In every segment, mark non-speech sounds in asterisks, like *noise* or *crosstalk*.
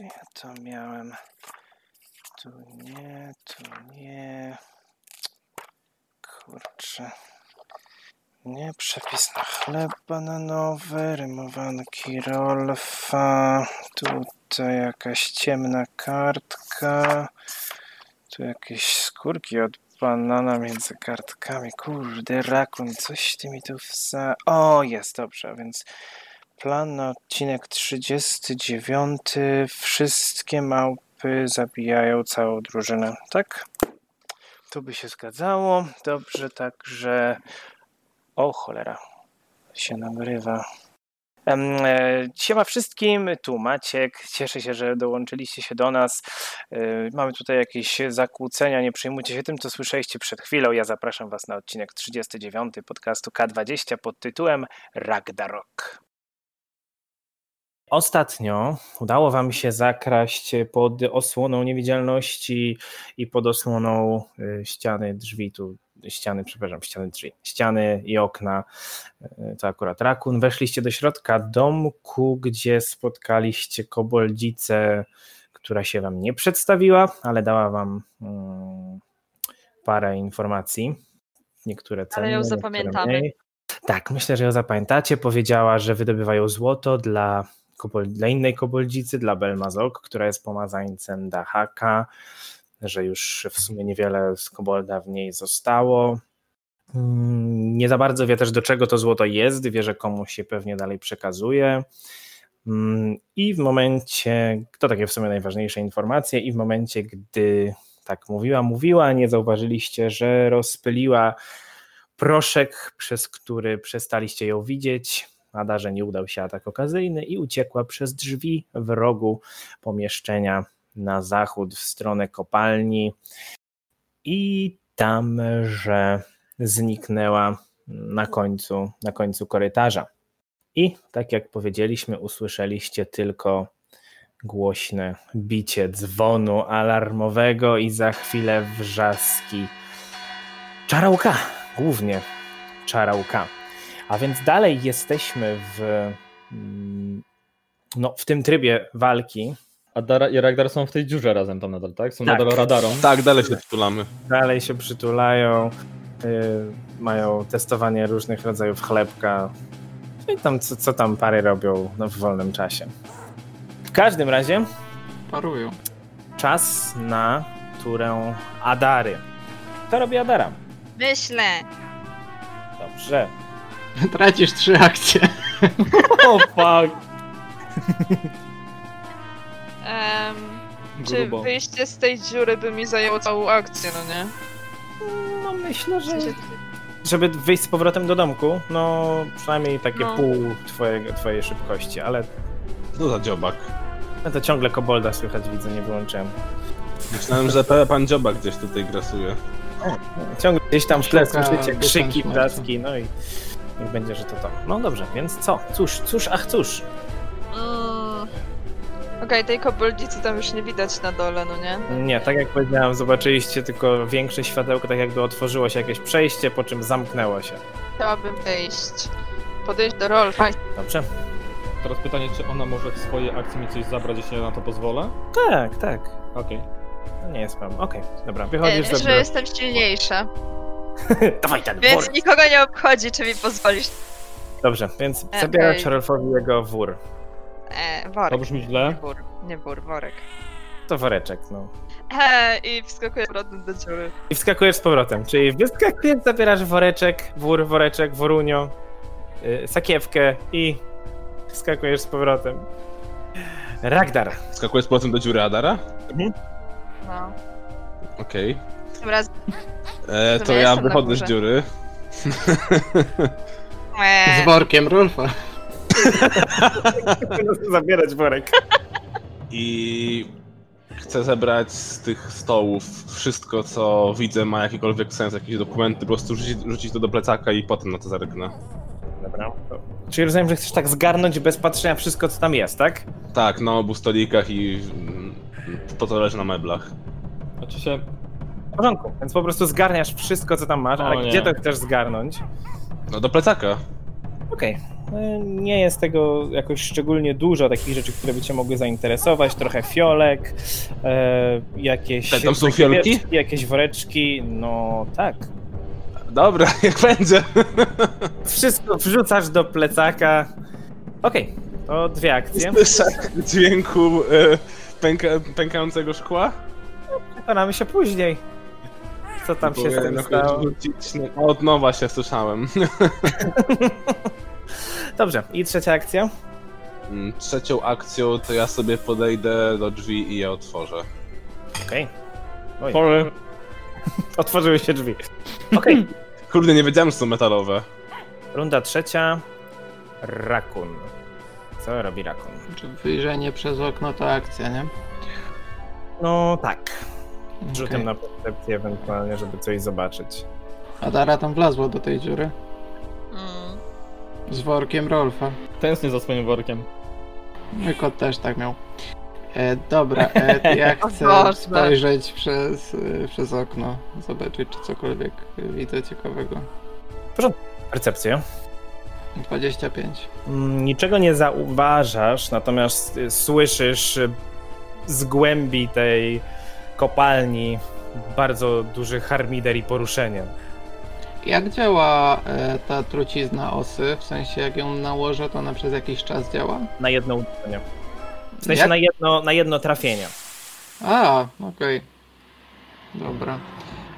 ja to miałem. Tu nie, tu nie. Kurczę. Nie, przepis na chleb bananowy, rymowanki Rolfa. Tutaj jakaś ciemna kartka. Tu jakieś skórki od banana między kartkami. Kurde, rakun, coś ty mi tu wsa... O, jest, dobrze, a więc plan na odcinek 39. Wszystkie małpy zabijają całą drużynę, tak? Tu by się zgadzało. Dobrze, także... O, cholera. Się nagrywa. Em, e, Siema wszystkim, tu Maciek. Cieszę się, że dołączyliście się do nas. E, Mamy tutaj jakieś zakłócenia, nie przejmujcie się tym, co słyszeliście przed chwilą. Ja zapraszam Was na odcinek 39 podcastu K20 pod tytułem Ragnarok. Ostatnio udało Wam się zakraść pod osłoną niewidzialności i pod osłoną y, ściany drzwi, tu ściany, przepraszam, ściany drzwi, ściany i okna to akurat rakun. Weszliście do środka domku, gdzie spotkaliście koboldzicę, która się wam nie przedstawiła, ale dała wam mm, parę informacji. Niektóre cenne, ją niektóre zapamiętamy. mniej. Tak, myślę, że ją zapamiętacie. Powiedziała, że wydobywają złoto dla, kobol- dla innej koboldzicy, dla Belmazok, która jest pomazańcem Dahaka, że już w sumie niewiele z kobolda w niej zostało. Mm, Nie za bardzo wie też, do czego to złoto jest, wie, że komuś się pewnie dalej przekazuje. Mm, I w momencie, to takie w sumie najważniejsze informacje, i w momencie, gdy tak mówiła, mówiła, nie zauważyliście, że rozpyliła proszek, przez który przestaliście ją widzieć. Ada, że nie udał się atak okazyjny i uciekła przez drzwi w rogu pomieszczenia na zachód w stronę kopalni. I tam, że zniknęła na końcu, na końcu korytarza. I tak jak powiedzieliśmy, usłyszeliście tylko głośne bicie dzwonu alarmowego i za chwilę wrzaski czarałka, głównie czarałka. A więc dalej jesteśmy w, mm, no, w tym trybie walki, A Dara i Ragdar są w tej dziurze razem tam nadal, tak? Są Tak. nadal radarą. Tak, dalej się przytulamy. dalej się przytulają, y, mają testowanie różnych rodzajów chlebka, No i tam co, co tam pary robią no, w wolnym czasie. W każdym razie Parują. czas na turę Adary. To robi Adara. Myślę. Dobrze. Tracisz trzy akcje. O fuck! Em, czy Grubo. wyjście z tej dziury by mi zajęło całą akcję, no nie? No myślę, W że... sensie, Żeby wyjść z powrotem do domku, no przynajmniej takie No. pół twojego, twojej szybkości, ale Co za dziobak. no to ciągle kobolda słychać widzę, nie wyłączyłem. Myślałem, że pe- pan dziobak gdzieś tutaj grasuje. Ciągle gdzieś tam w tle Szuka słyszycie krzyki, dystansu. blaski, no i niech będzie, że to to. No dobrze, więc co? Cóż, cóż, ach cóż. Mm. Okej, tej koboldzicy tam już nie widać na dole, no nie? Nie, tak jak powiedziałem, zobaczyliście tylko większe światełko, tak jakby otworzyło się jakieś przejście, po czym zamknęło się. Chciałabym wejść. Podejść do Rolfa. i- Dobrze? Teraz pytanie, czy ona może w swojej akcji mi coś zabrać, jeśli ja na to pozwolę? Tak, tak. Okej. To nie jest problem. Okej, dobra, E, wychodzisz za że jestem silniejsza. *laughs* Dawaj ten wór! Więc nikogo nie obchodzi, czy mi pozwolisz. Dobrze, więc E, Okej. zabierasz Rolfowi jego wór. E, To worek. brzmi źle. Wór. Nie wór, worek. To woreczek, no. He, i wskakuję rodem do dziury. I wskakujesz z powrotem, czyli wyskakujesz, zabierasz woreczek, wór, woreczek, worunio, yy, sakiewkę i wskakujesz z powrotem. Ragdar. Skakuje z powrotem do dziury Adara? No. Okej. Tym razem. E, To To ja ja jestem na wychodzę z górze. dziury. E, Z workiem Rolfa. *laughs* zabierać worek. I chcę zebrać z tych stołów wszystko, co widzę, ma jakikolwiek sens, jakieś dokumenty, po prostu rzucić, rzucić to do plecaka i potem na to zerknę. Dobra. to- Czyli rozumiem, że chcesz tak zgarnąć bez patrzenia wszystko, co tam jest, tak? Tak, na obu stolikach i mm, po co leży na meblach. Znaczy się... W porządku, więc po prostu zgarniasz wszystko, co tam masz, O ale nie. gdzie to chcesz zgarnąć? No do plecaka. Okej, E, Nie jest tego jakoś szczególnie dużo, takich rzeczy, które by cię mogły zainteresować. Trochę fiolek, e, jakieś... Te tam są takie fiolki? wieczki, Jakieś woreczki, no tak. Dobra, *laughs* jak będzie. Wszystko wrzucasz do plecaka. Okej, to dwie akcje. Słyszę dźwięku e, pęka, pękającego szkła. Przekonamy się później. Co tam się z Próbuję tym jakoś stało. wrócić na- Od nowa się słyszałem. *laughs* Dobrze, i trzecia akcja. Mm, Trzecią akcją to ja sobie podejdę do drzwi i je otworzę. Okej. Sorry. Otworzyły się drzwi. *laughs* Okej. Kurde, nie wiedziałem, że są metalowe. Runda trzecia. Rakun. Co robi rakun? Czy wyjrzenie przez okno to akcja, nie? No tak. Rzutem Okej. na percepcję ewentualnie, żeby coś zobaczyć. Adara tam wlazła do tej dziury. Mm. Z workiem Rolfa. Tęsknię za swoim workiem. Mój kot też tak miał. E, dobra, *laughs* e, to ja O chcę Boże. spojrzeć przez, e, przez okno, zobaczyć czy cokolwiek widzę ciekawego. Percepcję. 25. Mm, Niczego nie zauważasz, natomiast y, słyszysz y, z głębi tej kopalni bardzo duży harmider i poruszenie. Jak działa e, ta trucizna osy? W sensie jak ją nałożę, to ona przez jakiś czas działa? Na jedno uderzenie. W sensie Jak? na jedno, na jedno trafienie. A, okej. Dobra.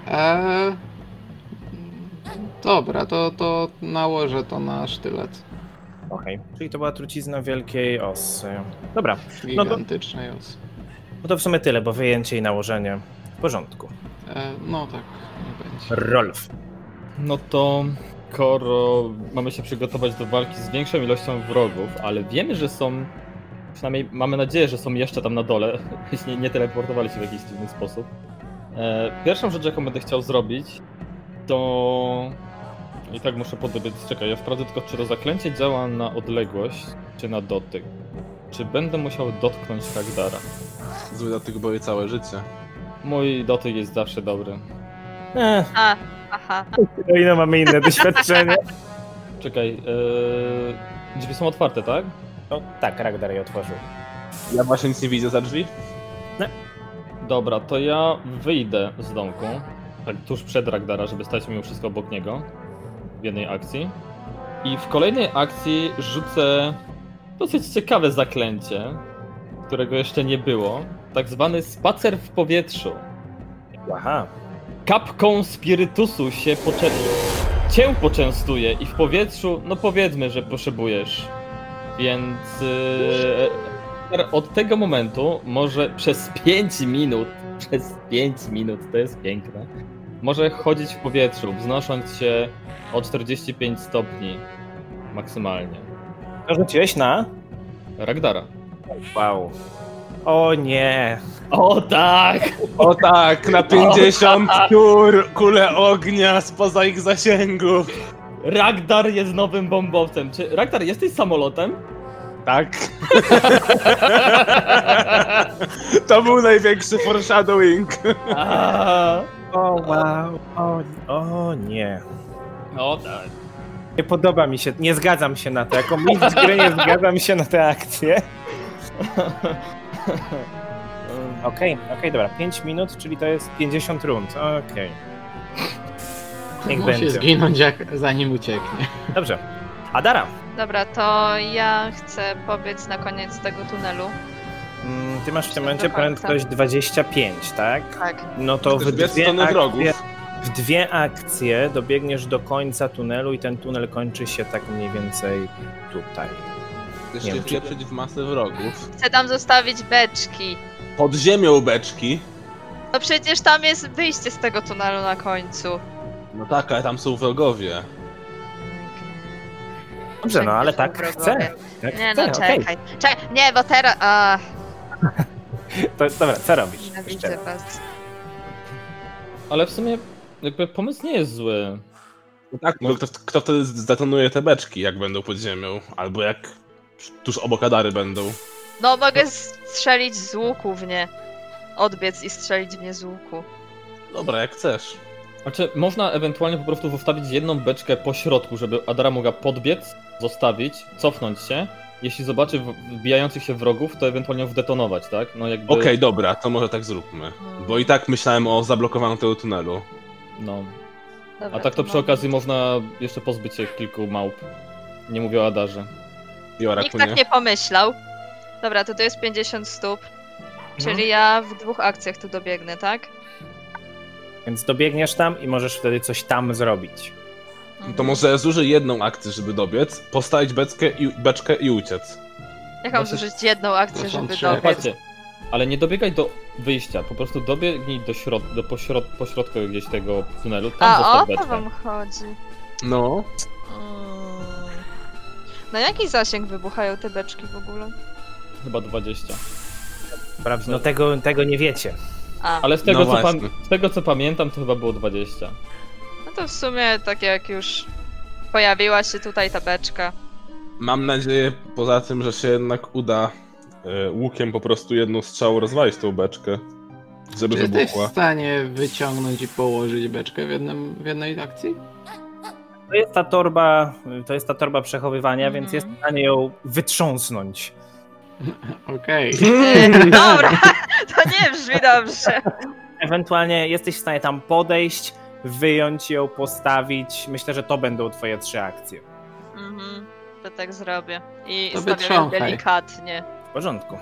E, dobra, to, to nałożę to na sztylet No Okej. Czyli to była trucizna wielkiej osy. Dobra, No to- gigantycznej osy. no to w sumie tyle, bo wyjęcie i nałożenie. W porządku. E, no tak, nie będzie. Rolf. No to skoro mamy się przygotować do walki z większą ilością wrogów, ale wiemy, że są, przynajmniej mamy nadzieję, że są jeszcze tam na dole, *laughs* nie, nie teleportowali się w jakiś dziwny sposób. E, pierwszą rzecz, jaką będę chciał zrobić, to... I tak muszę podrobić, czekaj, ja sprawdzę tylko, czy to zaklęcie działa na odległość, czy na dotyk. Czy będę musiał dotknąć Hagdara? Zły do tych boję całe życie. Mój dotyk jest zawsze dobry. E, Ech, A, aha. o ile mamy inne *laughs* doświadczenie. Czekaj, e, drzwi są otwarte, tak? No tak, Ragdar je otworzył. Ja właśnie nic nie widzę za drzwi. Dobra, to ja wyjdę z domku. Tak tuż przed Ragdara, żeby stać mimo wszystko obok niego. W jednej akcji. I w kolejnej akcji rzucę dosyć ciekawe zaklęcie, którego jeszcze nie było. Tak zwany spacer w powietrzu. Aha. Kapką spirytusu się poczę... cię poczęstuje i w powietrzu, no powiedzmy, że potrzebujesz. Więc yy, od tego momentu, może przez 5 minut, *laughs* przez 5 minut, to jest piękne, może chodzić w powietrzu, wznosząc się o 45 stopni maksymalnie. To rzuciłeś na? Ragdara. Wow. O nie. O tak! O *laughs* tak, na 50 tak. piór, kule ognia spoza ich zasięgu. Ragdar jest nowym bombowcem. Czy Ragdar jesteś samolotem? *laughs* Tak. *laughs* to był największy foreshadowing. Aaa. O wow. O, o nie. O tak. Nie podoba mi się, nie zgadzam się na to. Jako mistrz gry nie zgadzam się na te akcje. Okej, okej, dobra. 5 minut, czyli to jest 50 rund. Okej. Tak, Niech Musi będzie. zginąć jak, zanim ucieknie. Dobrze. Adara, Dobra, to ja chcę pobiec na koniec tego tunelu. mm, ty masz w tym Myślę, momencie że tak, prędkość 25, tak? Tak. No to w Dwie dwie, strony wrogów. akcje, w dwie akcje dobiegniesz do końca tunelu i ten tunel kończy się tak mniej więcej tutaj. Nie Jeszcze wiem, czy- wpieprzyć w masę wrogów. Chcę tam zostawić beczki. Pod ziemią beczki. No przecież tam jest wyjście z tego tunelu na końcu. No tak, ale tam są wrogowie. Dobrze, no ale tak Wrogowie. chcę. Tak Nie chcę, no, okej. czekaj. Czekaj, nie, bo teraz... A, To, dobra, co robisz? nienawidzę Jeszcze. was. Ale w sumie jakby pomysł nie jest zły. No tak, bo kto, kto wtedy zdetonuje te beczki, jak będą pod ziemią? Albo jak tuż obok Adary będą. No mogę strzelić z łuku w nie. Odbiec i strzelić w nie z łuku. Dobra, jak chcesz. Znaczy, można ewentualnie po prostu zostawić jedną beczkę po środku, żeby Adara mogła podbiec, zostawić, cofnąć się. Jeśli zobaczy w- wbijających się wrogów, to ewentualnie ją wdetonować, tak? No jakby... Okej, dobra, to może tak zróbmy. Bo i tak myślałem o zablokowaniu tego tunelu. No. Dobra, A tak to przy mam- okazji można jeszcze pozbyć się kilku małp. Nie mówię o Adarze. I o Nikt rakunie. tak nie pomyślał. Dobra, to to jest 50 stóp. Mhm. Czyli ja w dwóch akcjach tu dobiegnę, tak? Więc dobiegniesz tam i możesz wtedy coś tam zrobić. To może zużyj jedną akcję, żeby dobiec, postawić beczkę i, beczkę i uciec. Jak mam Właśnie- zużyć jedną akcję, To są żeby trzy. dobiec? Patrzcie, ale nie dobiegaj do wyjścia, po prostu dobiegnij do, środ- do pośrod- pośrodku gdzieś tego tunelu, tam A o zostaw to beczkę. wam chodzi. No. Mm. Na jaki zasięg wybuchają te beczki w ogóle? Chyba 20. Prawda? No tego, tego nie wiecie. A, Ale z tego, No co właśnie. pam- z tego co pamiętam, to chyba było 20. no to w sumie tak jak już pojawiła się tutaj ta beczka. Mam nadzieję, poza tym, że się jednak uda e, łukiem po prostu jedną strzałą rozwalić tą beczkę, żeby Czy jesteś w wybuchła. stanie wyciągnąć i położyć beczkę w, jednym, w jednej akcji? To jest ta torba, to jest ta torba przechowywania, Mhm. więc jest w stanie ją wytrząsnąć. *laughs* Okej. Yy, Dobra, *laughs* to nie brzmi dobrze. Ewentualnie jesteś w stanie tam podejść, wyjąć ją, postawić. Myślę, że to będą twoje trzy akcje. Mhm, to tak zrobię. I To stawiam ją wytrząchaj. delikatnie. W porządku.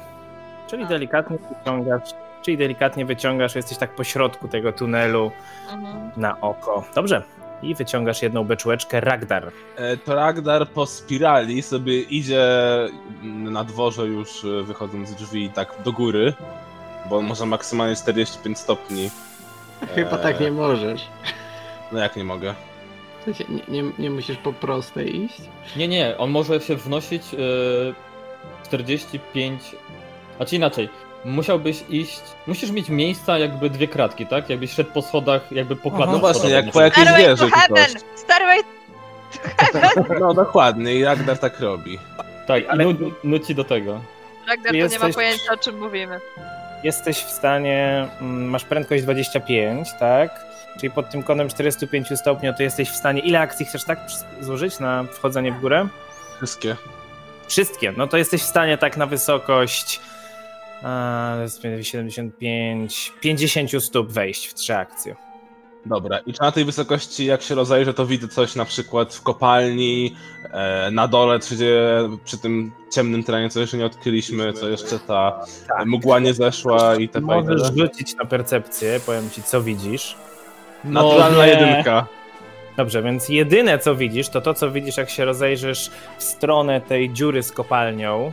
Czyli delikatnie wyciągasz, czyli delikatnie wyciągasz, jesteś tak po środku tego tunelu Mhm. na oko. Dobrze. I wyciągasz jedną beczułeczkę Ragdar. E, to Ragnar po spirali sobie idzie na dworze już e, wychodząc z drzwi tak do góry, bo może maksymalnie 45 stopni. E, Chyba tak nie możesz. No jak nie mogę. W sensie, nie, nie, nie musisz po prostej iść? Nie, nie, on może się wnosić yy, 45. Znaczy inaczej, musiałbyś iść. Musisz mieć miejsca, jakby dwie kratki, tak? Jakbyś szedł po schodach, jakby po Aha. klatce. No właśnie, schodowej. jak po jak- Jakieś Starway wieże to czy heaven! Starway No dokładnie, i Ragnar tak robi. Tak, Ale- ale... i nu- nuci do tego. Ragnar to nie ma Jesteś- pojęcia o czym mówimy. Jesteś w stanie, mm, masz prędkość 25, tak? Czyli pod tym kątem 45 stopni, to jesteś w stanie. Ile akcji chcesz tak przy- złożyć na wchodzenie w górę? Wszystkie. Wszystkie. No to jesteś w stanie tak na wysokość a, to jest 75, 50 stóp wejść w trzy akcje. Dobra, i czy na tej wysokości, jak się rozejrzę, to widzę coś na przykład w kopalni, e, na dole, czy gdzie przy tym ciemnym terenie, co jeszcze nie odkryliśmy, co jeszcze ta Tak. mgła nie zeszła i te fajne. Możesz rzucić na percepcję, powiem ci co widzisz. Naturalna No nie. jedynka. Dobrze, więc jedyne co widzisz, to to co widzisz jak się rozejrzysz w stronę tej dziury z kopalnią,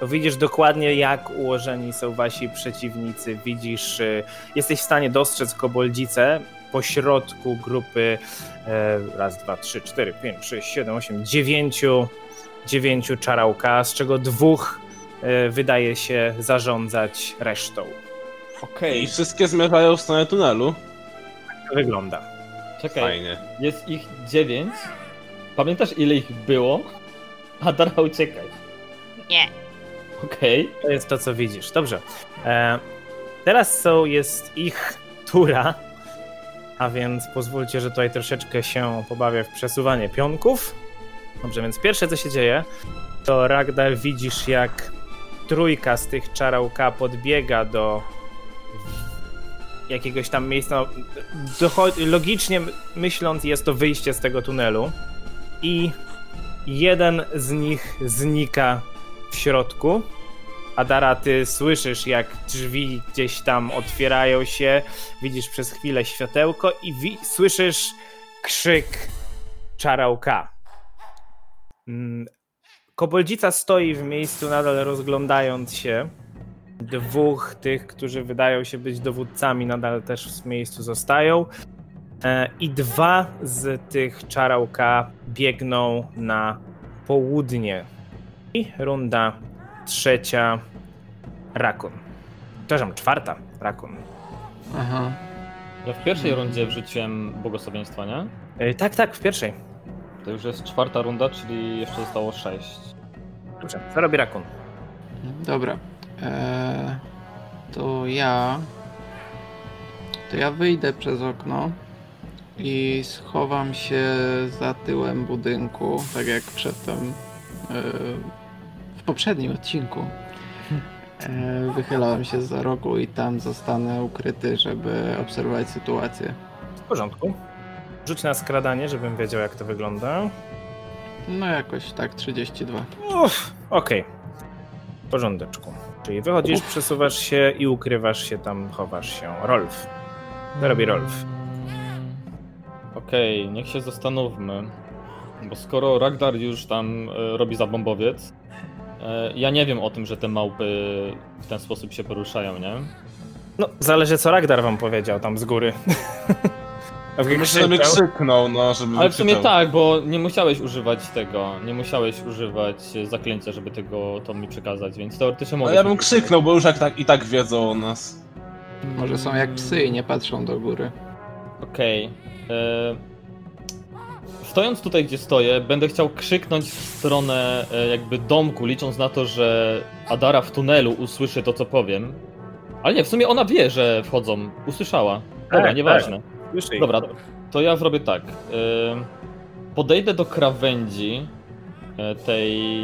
to widzisz dokładnie jak ułożeni są wasi przeciwnicy, widzisz, y, jesteś w stanie dostrzec koboldzice pośrodku grupy e, raz, dwa, trzy, cztery, pięć, sześć, siedem, osiem, dziewięciu, dziewięciu czarałka, z czego dwóch e, wydaje się zarządzać resztą. I no, Okej, wszystkie zmierzają w stronę tunelu. Tak to wygląda. czekaj. Fajnie. Jest ich 9. Pamiętasz ile ich było? *laughs* Adara uciekaj. Nie. Okej. To jest to, co widzisz. Dobrze. E, teraz są, jest ich tura, a więc pozwólcie, że tutaj troszeczkę się pobawię w przesuwanie pionków. Dobrze, więc pierwsze, co się dzieje, to Ragdal widzisz, jak trójka z tych czarałka podbiega do jakiegoś tam miejsca. No, docho- logicznie myśląc, jest to wyjście z tego tunelu i jeden z nich znika w środku. Adara, ty słyszysz, jak drzwi gdzieś tam otwierają się, widzisz przez chwilę światełko i wi- słyszysz krzyk czarałka. Mm, Koboldzica stoi w miejscu, nadal rozglądając się. Dwóch tych, którzy wydają się być dowódcami, nadal też w miejscu zostają. E, I dwa z tych czarałka biegną na południe. I runda trzecia Rakun. Przepraszam, czwarta Rakun. Aha. Ja w pierwszej rundzie wrzuciłem błogosławieństwa, nie? E, Tak, tak, w pierwszej. To już jest czwarta runda, czyli jeszcze zostało 6. Dobrze, co robi Rakun? Dobra. Eee, to ja. To ja wyjdę przez okno. i schowam się za tyłem budynku, tak jak przedtem e, w poprzednim odcinku. E, Wychylałem się za rogu i tam zostanę ukryty, żeby obserwować sytuację. W porządku. Rzuć na skradanie, żebym wiedział, jak to wygląda. No jakoś tak 32. Uff, Okej. W porządeczku. Czyli wychodzisz, przesuwasz się i ukrywasz się tam, chowasz się. Rolf. To robi Rolf. Okej, niech się zastanówmy. Bo skoro Ragnar już tam e, robi zabombowiec, e, ja nie wiem o tym, że te małpy w ten sposób się poruszają, nie? No, zależy co Ragdar wam powiedział tam z góry. Jak Myślę, żeby krzyczał. krzyknął, no, żeby Ale w sumie wykrzyczał. tak, bo nie musiałeś używać tego, nie musiałeś używać zaklęcia, żeby tego to mi przekazać, więc teoretycznie mogę. Ale No ja bym krzyknął, bo już jak tak, i tak wiedzą o nas. Może są jak psy i nie patrzą do góry. Okej. e, Stojąc tutaj, gdzie stoję, będę chciał krzyknąć w stronę e, jakby domku, licząc na to, że Adara w tunelu usłyszy to, co powiem. Ale nie, w sumie ona wie, że wchodzą. Usłyszała. Dobra, Tak, nieważne. Słyszy ich. Dobra, to ja zrobię tak. e, Podejdę do krawędzi e, tej,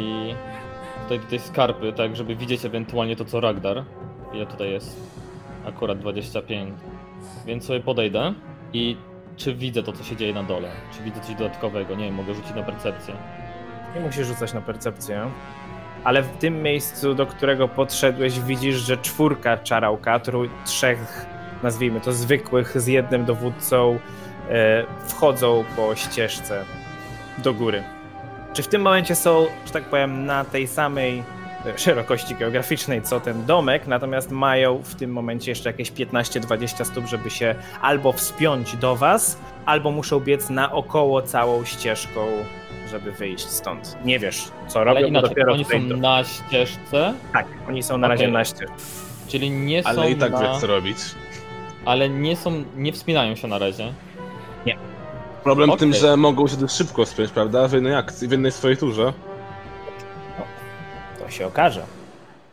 tej, tej skarpy, tak, żeby widzieć ewentualnie to, co Ragdar. Ile tutaj jest? Akurat 25. Więc sobie podejdę i czy widzę to, co się dzieje na dole? Czy widzę coś dodatkowego? Nie wiem, mogę rzucić na percepcję. Nie musisz rzucać na percepcję. Ale w tym miejscu, do którego podszedłeś, widzisz, że czwórka czarałka, trój, trzech, nazwijmy to zwykłych, z jednym dowódcą, e, wchodzą po ścieżce do góry. Czy w tym momencie są, że tak powiem, na tej samej e, szerokości geograficznej co ten domek, natomiast mają w tym momencie jeszcze jakieś 15-20 stóp, żeby się albo wspiąć do was, albo muszą biec naokoło całą ścieżką, żeby wyjść stąd. Nie wiesz, co Ale robią, bo inaczej, dopiero oni są tutaj do... na ścieżce, Tak, oni są na razie Okej. na ścieżce. czyli nie są Ale i tak na... wie, co robić. Ale nie są, nie wspinają się na razie. Problem w tym, Okej. że mogą się dość szybko spiąć, prawda? W jednej akcji, w jednej swojej turze. To się okaże.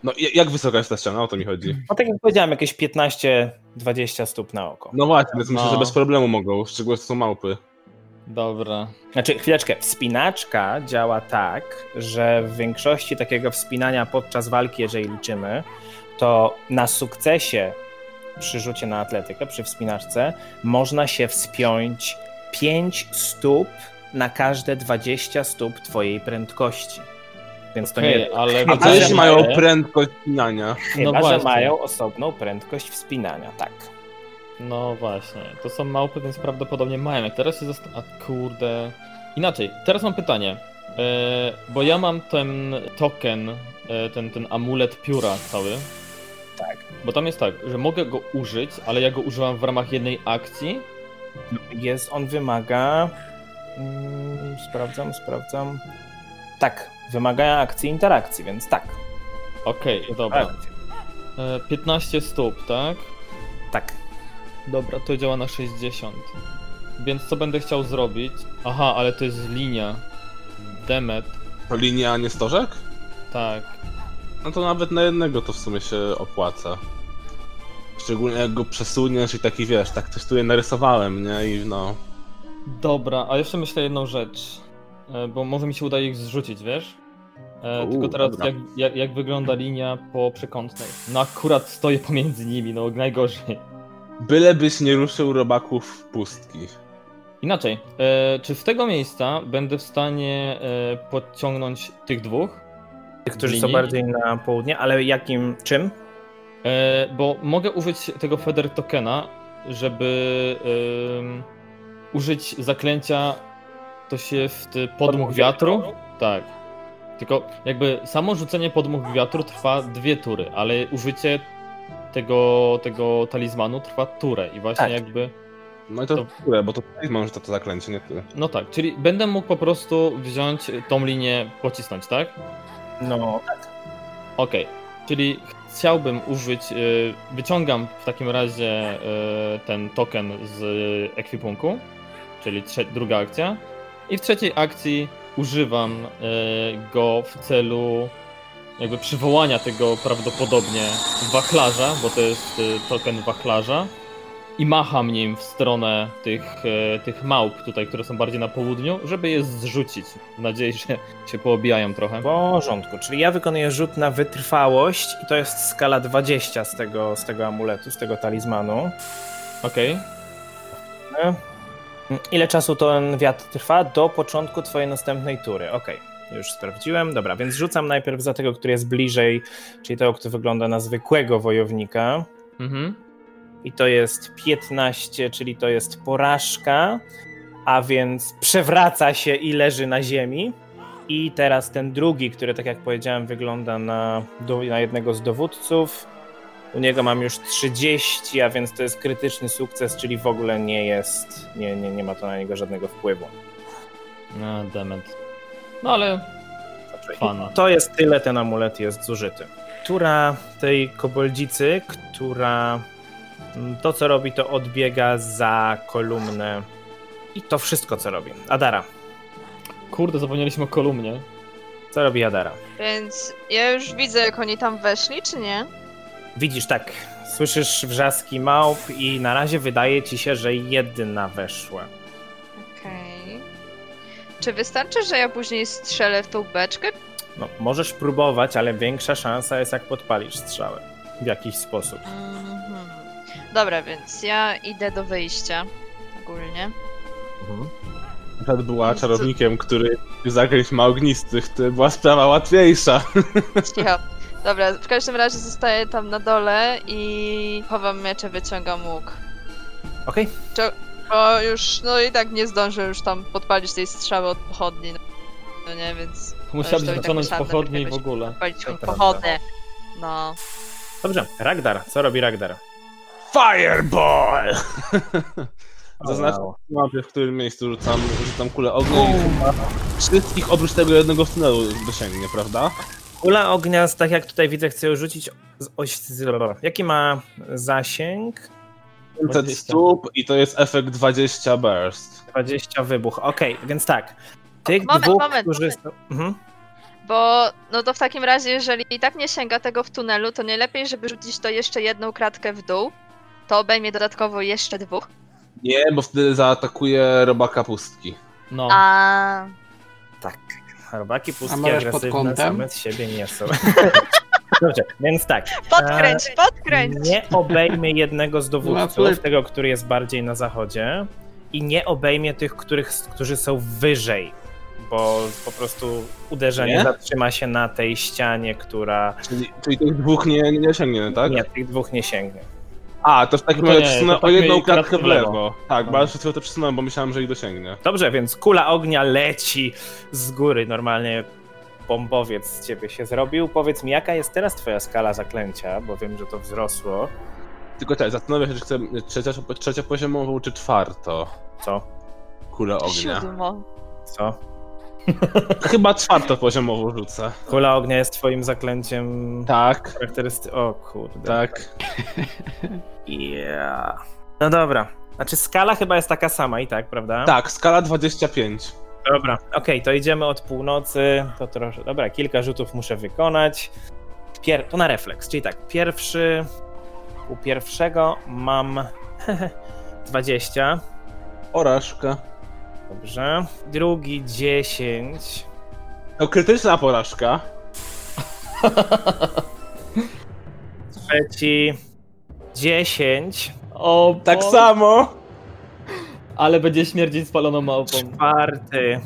No, i- jak wysoka jest ta ściana? O to mi chodzi. No tak jak powiedziałem, jakieś 15-20 stóp na oko. No właśnie, więc myślę, No. że bez problemu mogą, szczególnie to są małpy. Dobra. Znaczy, chwileczkę, wspinaczka działa tak, że w większości takiego wspinania podczas walki, jeżeli liczymy, to na sukcesie przy rzucie na atletykę, przy wspinaczce, można się wspiąć 5 stóp na każde 20 stóp twojej prędkości. Więc to nie Okej, ale... A A co że jeśli mają prędkość spinania? chyba, no że właśnie. mają osobną prędkość wspinania, tak. No właśnie, to są małpy, więc prawdopodobnie mają. Jak teraz się zastanawiam. A kurde. Inaczej, teraz mam pytanie. E, bo ja mam ten token, e, ten, ten amulet pióra cały. Tak. Bo tam jest tak, że mogę go użyć, ale ja go użyłam w ramach jednej akcji. Jest, on wymaga. Mm, sprawdzam, sprawdzam. Tak, wymaga akcji interakcji, więc tak. Okej, dobra. Akcja. E, 15 stóp, tak? Tak. Dobra, to działa na 60. Więc co będę chciał zrobić? Aha, ale to jest linia. Demet, To linia, a nie stożek? tak. No to nawet na jednego to w sumie się opłaca. Szczególnie jak go przesuniesz i taki wiesz, tak coś tu je narysowałem, nie? I no. Dobra, a jeszcze myślę jedną rzecz, e, bo może mi się uda ich zrzucić, wiesz? E, U, tylko teraz dobra. jak, jak, jak wygląda linia po przekątnej? No akurat stoję pomiędzy nimi, no najgorzej. Bylebyś nie ruszył robaków pustki. Inaczej, e, czy z tego miejsca będę w stanie e, podciągnąć tych dwóch? Tych, którzy są Linii? bardziej na południe, ale jakim czym? E, bo mogę użyć tego Feder Tokena, żeby em, użyć zaklęcia to się w ty, podmuch wiatru. Tak. Tylko jakby samo rzucenie podmuch wiatru trwa dwie tury, ale użycie tego, tego talizmanu trwa turę i właśnie Tak. jakby. No i to, To- tyle, bo to mam, że to, to zaklęcie, nie ty. No tak, czyli będę mógł po prostu wziąć tą linię, pocisnąć, tak? No, Okej, czyli chciałbym użyć, y, wyciągam w takim razie y, ten token z ekwipunku, czyli trze- druga akcja. I w trzeciej akcji używam y, go w celu jakby przywołania tego prawdopodobnie wachlarza, bo to jest y, token wachlarza. i macham nim w stronę tych, e, tych małp tutaj, które są bardziej na południu, żeby je zrzucić. W nadziei, że się poobijają trochę. W porządku, czyli ja wykonuję rzut na wytrwałość i to jest skala 20 z tego, z tego amuletu, z tego talizmanu. Okej. E? Ile czasu ten wiatr trwa? Do początku twojej następnej tury. Okej, już sprawdziłem. Dobra, więc rzucam najpierw za tego, który jest bliżej, czyli tego, kto wygląda na zwykłego wojownika. Mhm. I to jest 15, czyli to jest porażka, a więc przewraca się i leży na ziemi. I teraz ten drugi, który, tak jak powiedziałem, wygląda na, do- na jednego z dowódców. U niego mam już 30, a więc to jest krytyczny sukces, czyli w ogóle nie jest, nie, nie, nie ma to na niego żadnego wpływu. No, demet. No ale Znaczy, Fana. To jest tyle, ten amulet jest zużyty. Która tej koboldzicy, która mm, to co robi, to odbiega za kolumnę i to wszystko co robi. Adara. kurde, zapomnieliśmy o kolumnie. Co robi Adara? Więc ja już widzę, jak oni tam weszli, czy nie? Widzisz tak, słyszysz wrzaski małp i na razie wydaje ci się, że jedna weszła. Okej. Czy wystarczy, że ja później strzelę w tą beczkę? No, możesz próbować, ale większa szansa jest jak podpalisz strzałę w jakiś sposób. Mhm. Dobra, więc ja idę do wyjścia. Ogólnie. Przed była czarownikiem, który zagryźł ma ognistych, to była sprawa łatwiejsza. Cicho. Dobra, w każdym razie zostaję tam na dole i chowam miecze, wyciągam łuk. Okej, Bo już, no i tak nie zdążę już tam podpalić tej strzały od pochodni. No nie, więc Musiałabyś to i tak wyciągnąć musiałam pochodnie i w najpierw ogóle. palić To tą prawda. pochodnię. No. dobrze. Ragdar, co robi Ragdar? *laughs* Fireball! Zaznaczam mapie, w którym miejscu rzucam, rzucam kulę ognia i chyba wszystkich oprócz tego jednego w tunelu dosięgnie, prawda? Kula ognia, z- tak jak tutaj widzę, chcę ją rzucić. Z oś... z- dobra. Jaki ma zasięg? 500 20. stóp i to jest efekt 20 burst. 20 wybuch. Okej, więc tak. Tych moment, dwóch, moment, którzy. Mhm. Bo, no to w takim razie, jeżeli i tak nie sięga tego w tunelu, to nie lepiej, żeby rzucić to jeszcze jedną kratkę w dół. To obejmie dodatkowo jeszcze dwóch. Nie, bo wtedy zaatakuje robaka pustki. No. A. Tak. Robaki A pustki masz pod agresywne kątem? same z siebie nie *laughs* są. Dobrze, więc tak. Podkręć, podkręć! Nie obejmie jednego z Łapy. dowódców, tego, który jest bardziej na zachodzie, i nie obejmie tych, których, którzy są wyżej, bo po prostu uderzenie Nie? zatrzyma się na tej ścianie, która. Czyli, czyli tych dwóch nie, nie osiągniemy, tak? Nie, tych dwóch nie sięgnie. A, No to w takim To razie nie, przesunę to o tak jedną mieli kratkę w lewo. Tak, No. bo ja przed chwilą to przesunąłem, bo myślałem, że ich dosięgnę. Dobrze, więc kula ognia leci z góry. Normalnie bombowiec z ciebie się zrobił. Powiedz mi, jaka jest teraz twoja skala zaklęcia, bo wiem, że to wzrosło. Tylko tak, zastanawiam się, czy chcę trzecia, trzeciopoziomową, czy czwarto Co? kulę ognia. Siódmo. Co? *laughs* Chyba czwartopoziomową rzucę. Kula ognia jest twoim zaklęciem Tak, charakterysty... O kurde. tak. Yeah. No dobra. Znaczy skala chyba jest taka sama i tak, prawda? Tak, skala 25. Dobra. Okej, to idziemy od północy. To troszkę. Dobra, kilka rzutów muszę wykonać. Pier... To na refleks, czyli tak, pierwszy. U pierwszego mam *laughs* 20. Porażka. Dobrze. Drugi 10. To krytyczna porażka. Trzeci 10. O, Tak Boże. samo. Ale będzie śmierdzić spaloną małpą. Czwarty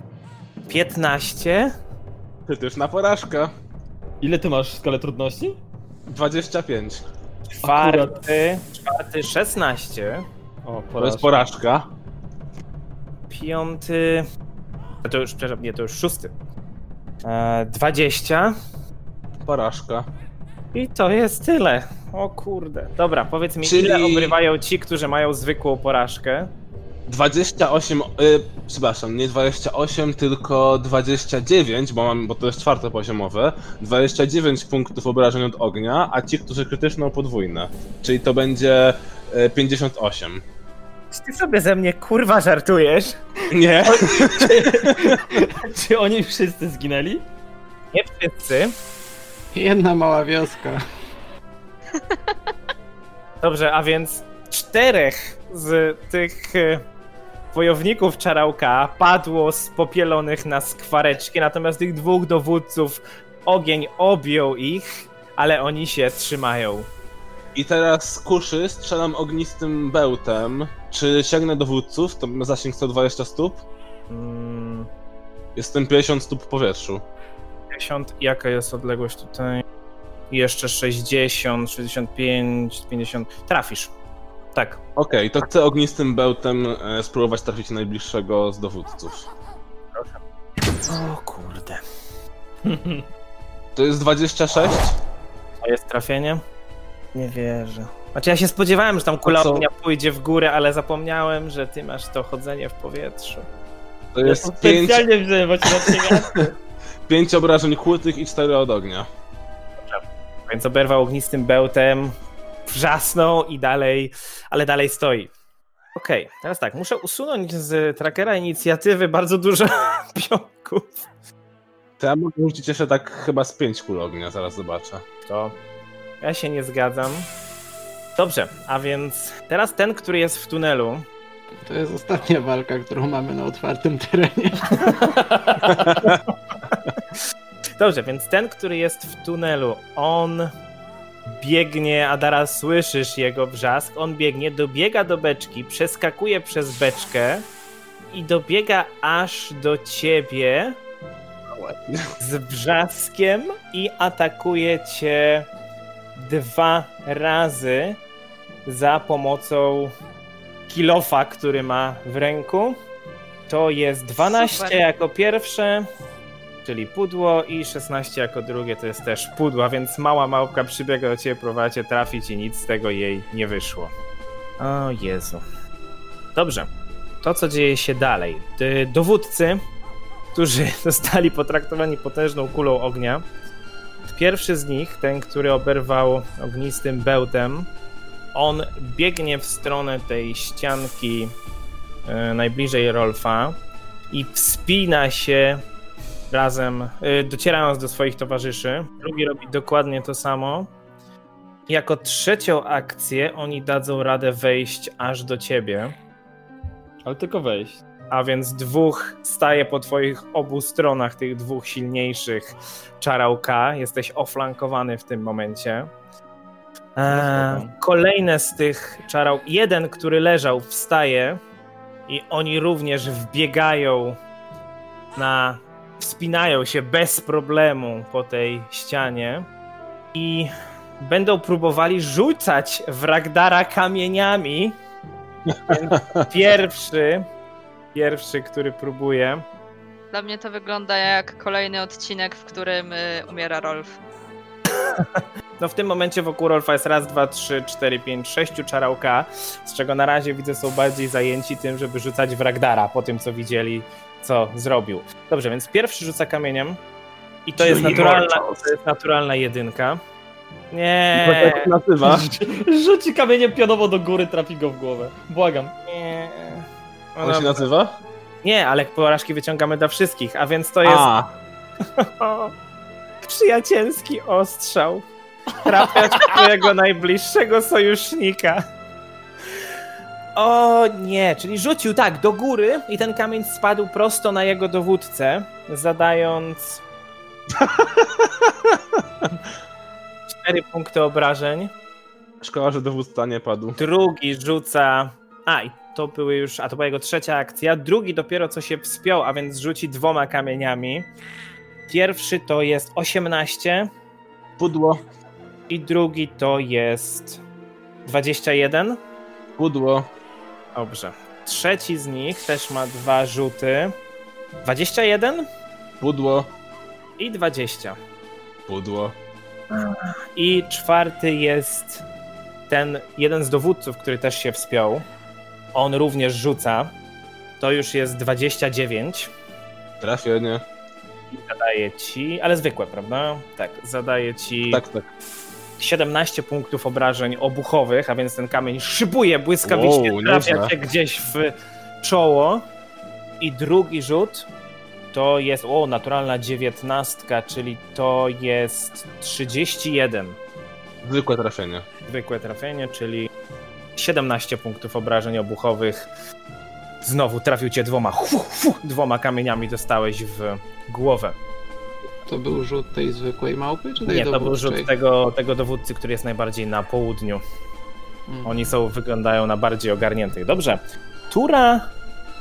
15. Krytyczna porażka. Ile ty masz skalę trudności? 25. Czwarty. Czwarty 16. O, To porażka. jest porażka. Piąty. A to już, przepraszam, nie, to już szósty. E, 20. Porażka. I to jest tyle. O kurde. Dobra, powiedz mi, Czyli- ile obrywają ci, którzy mają zwykłą porażkę? 28, y, przepraszam, nie 28, tylko 29, bo, mam, bo to jest czwarte poziomowe. 29 punktów obrażeń od ognia, a ci, którzy krytyczną, podwójne. Czyli to będzie y, 58. Czy ty sobie ze mnie kurwa żartujesz? Nie, Czy oni wszyscy zginęli? Nie wszyscy. Jedna mała wioska. Dobrze, a więc czterech z tych e, wojowników czarałka padło z popielonych na skwareczki, natomiast tych dwóch dowódców ogień objął ich, ale oni się trzymają. I teraz kuszy strzelam ognistym bełtem. Czy sięgnę dowódców? To ma zasięg 120 stóp. Mm, Jestem 50 stóp w powietrzu. 50, jaka jest odległość tutaj? Jeszcze 60, 65, 50. Trafisz. Tak. Okej, to chcę ognistym bełtem e, spróbować trafić najbliższego z dowódców. O kurde. To jest 26? To jest trafienie? Nie wierzę. Znaczy ja się spodziewałem, że tam kula A co? ognia pójdzie w górę, ale zapomniałem, że ty masz to chodzenie w powietrzu. To Ja jest 5, specjalnie wziąłem, bo cię na ciebie- 5 obrażeń kłutych i 4 od ognia. *laughs* Więc oberwał ognistym bełtem, wrzasnął i dalej, ale dalej stoi. Okej, teraz tak, muszę usunąć z trackera inicjatywy bardzo dużo *laughs* pionków. To ja mogę rzucić jeszcze tak chyba z 5 kul ognia, zaraz zobaczę. To ja się nie zgadzam. Dobrze, a więc teraz ten, który jest w tunelu, To jest ostatnia walka, którą mamy na otwartym terenie. Dobrze, więc ten, który jest w tunelu, on biegnie, Adara, słyszysz jego wrzask, on biegnie, dobiega do beczki, przeskakuje przez beczkę i dobiega aż do ciebie z wrzaskiem i atakuje cię dwa razy za pomocą kilofa, który ma w ręku. To jest 12 Super. jako pierwsze, czyli pudło i 16 jako drugie to jest też pudła, więc mała małpka przybiega do ciebie, próbowała cię trafić i nic z tego jej nie wyszło. O Jezu. Dobrze. To, co dzieje się dalej. D- Dowódcy, którzy *laughs* zostali potraktowani potężną kulą ognia, pierwszy z nich, ten, który oberwał ognistym bełtem, on biegnie w stronę tej ścianki e, najbliżej Rolfa i wspina się razem, e, docierając do swoich towarzyszy. Drugi robi dokładnie to samo. Jako trzecią akcję oni dadzą radę wejść aż do ciebie, Ale tylko *laughs* wejść. a więc dwóch staje po twoich obu stronach, tych dwóch silniejszych czarałka. Jesteś oflankowany w tym momencie. Eee, kolejne z tych czarał, jeden, który leżał, wstaje i oni również wbiegają na, wspinają się bez problemu po tej ścianie i będą próbowali rzucać Wragdara kamieniami. Więc Pierwszy, pierwszy, który próbuje, Dla mnie to wygląda jak kolejny odcinek, w którym y, umiera Rolf. No w tym momencie wokół Rolfa jest raz, dwa, trzy, cztery, pięć, sześciu czarałka, z czego na razie widzę są bardziej zajęci tym, żeby rzucać Wragdara po tym, co widzieli, co zrobił. Dobrze, więc pierwszy rzuca kamieniem i to jest naturalna, to jest naturalna jedynka. Nie, Tak *laughs* nazywa. Rzuci kamieniem pionowo do góry, trafi go w głowę. Błagam. nie. No On się dobra. nazywa? Nie, ale porażki wyciągamy dla wszystkich, a więc to jest A, o, przyjacielski ostrzał. Trafiasz w twojego najbliższego sojusznika. O nie, czyli rzucił tak do góry i ten kamień spadł prosto na jego dowódcę, *laughs* zadając cztery punkty obrażeń. szkoda, że dowódca nie padł. Drugi rzuca. A, i to były już. A to była jego trzecia akcja. Drugi dopiero co się wspiął, a więc rzuci dwoma kamieniami. Pierwszy to jest 18 Pudło, i drugi to jest 21. pudło. Dobrze. Trzeci z nich też ma dwa rzuty. 21 Pudło, i 20. pudło. I czwarty jest ten jeden z dowódców, który też się wspiął. On również rzuca. To już jest 29. Trafienie. Zadaje ci, ale zwykłe, prawda? Tak, zadaje ci Tak, tak. 17 punktów obrażeń obuchowych, a więc ten kamień szybuje błyskawicznie, Wow, trafia nieźle. cię gdzieś w czoło. I drugi rzut to jest, o, naturalna 19, czyli to jest 31. Zwykłe trafienie. Zwykłe trafienie, czyli 17 punktów obrażeń obuchowych. Znowu trafił cię dwoma, hu, hu, dwoma kamieniami dostałeś w głowę. To był rzut tej zwykłej małpy, No czy tej Nie, to był dowódczej? rzut tego, tego dowódcy, który jest najbardziej na południu. Mm. Oni są, wyglądają na bardziej ogarniętych. Dobrze. Tura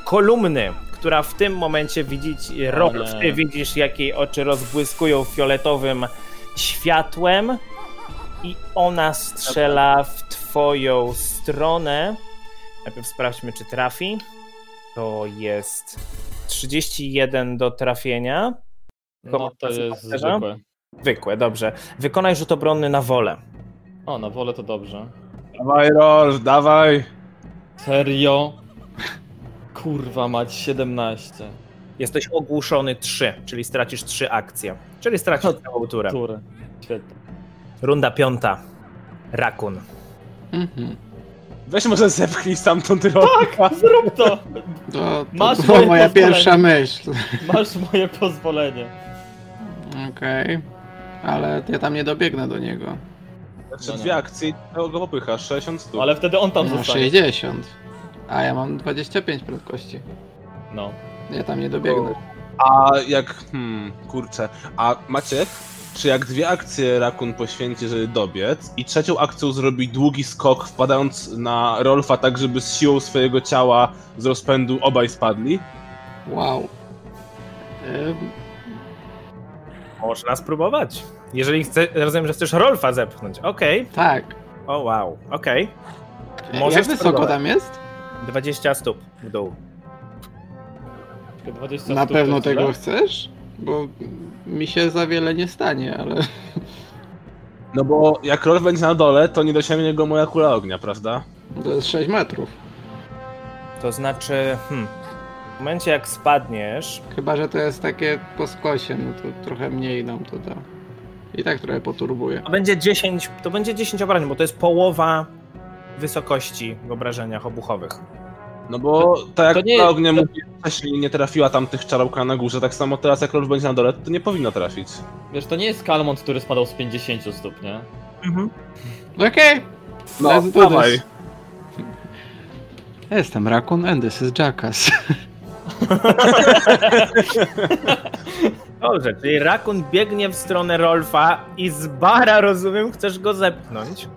kolumny, która w tym momencie widzisz, Rob, Ale- ty widzisz, jak jej oczy rozbłyskują fioletowym światłem i ona strzela w twoją stronę. Najpierw sprawdźmy, czy trafi. To jest 31 do trafienia. No to jest Pancerza? zwykłe. Zwykłe, dobrze. Wykonaj rzut obronny na wolę. O, na wolę to dobrze. Dawaj, Rolf, dawaj! Serio? Kurwa mać, 17. Jesteś ogłuszony 3, czyli stracisz 3 akcje. Czyli stracisz całą turę. Które? Świetnie. Runda piąta. Rakun. Mhm. Weź może zepchnij stamtąd Rolf. Tak! Zrób to! To, to Masz była moje moja pozwolenie. pierwsza myśl. Masz moje pozwolenie. Okej. Ale ja tam nie dobiegnę do niego. Znaczy dwie akcje i tego go popychasz, 60 stóp. Ale wtedy on tam No, zostanie. 60. A ja mam 25 prędkości. No. Ja tam nie dobiegnę. A jak. Hmm, kurczę. A Maciek, czy jak dwie akcje Rakun poświęci, żeby dobiec, i trzecią akcją zrobi długi skok, wpadając na Rolfa, tak żeby z siłą swojego ciała z rozpędu obaj spadli? Wow. Ym, Można spróbować. Jeżeli chcesz, rozumiem, że chcesz Rolfa zepchnąć. Okej. tak. O wow. Okej. Możesz Jak wysoko spróbować. tam jest? 20 stóp w dół. Tylko 20 Na stóp to pewno tyle? tego chcesz? Bo mi się za wiele nie stanie, ale... No bo jak Rolf będzie na dole, to nie dosięgnie go moja kula ognia, prawda? To jest 6 metrów. To znaczy, hmm, w momencie jak spadniesz, Chyba, że to jest takie po skosie, no to trochę mniej nam to da. I tak trochę poturbuje. to będzie 10, to będzie 10 obrażeń, bo to jest połowa wysokości w obrażeniach obuchowych. No bo tak to jak nie- kula ognia to- mówi, wcześniej nie trafiła tam tych czarłka na górze, tak samo teraz jak Rolf będzie na dole, to nie powinno trafić. Wiesz, to nie jest Kalmont, który spadał z 50 stóp, nie? No Okej! No, Let's do dawaj. this. Ja Jestem Rakun and this is Jackass. *laughs* Dobrze, czyli Rakun biegnie w stronę Rolfa i z bara, rozumiem, chcesz go zepchnąć.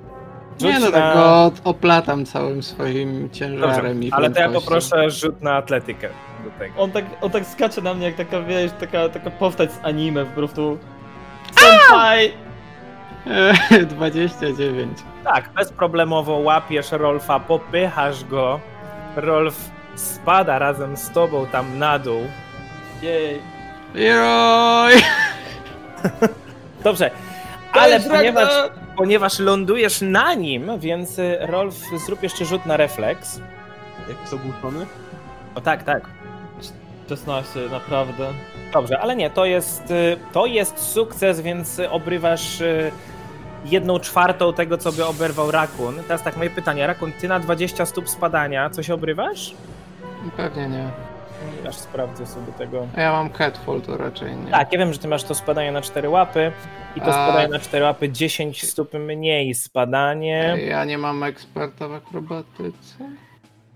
Rzuć Nie no, tak go oplatam całym swoim ciężarem Dobrze, i ale to ja prędkością. *laughs* poproszę rzut na atletykę do tego. On tak, on tak skacze na mnie jak taka, wiesz, taka, taka postać z anime, po prostu... Senpai! 29. Tak, bezproblemowo łapiesz Rolfa, popychasz go. Rolf spada razem z tobą tam na dół. Jej! Leroy! *laughs* Dobrze, ale Cześć, Ragnar! ponieważ, ponieważ lądujesz na nim, więc y, Rolf zrób jeszcze rzut na refleks. Jak są ogłuszony? O tak, tak. 16, naprawdę. Dobrze, ale nie, to jest, y, to jest sukces, więc y, obrywasz y, jedną czwartą tego, co by oberwał Rakun. Teraz tak, moje pytanie. Rakun, ty na 20 stóp spadania coś obrywasz? Pewnie nie. Aż sprawdzę sobie tego. A ja mam catfall, to raczej nie. Tak, ja wiem, że ty masz to spadanie na cztery łapy i to A- spadanie na cztery łapy 10 stóp mniej spadanie. Ja nie mam eksperta w akrobatyce?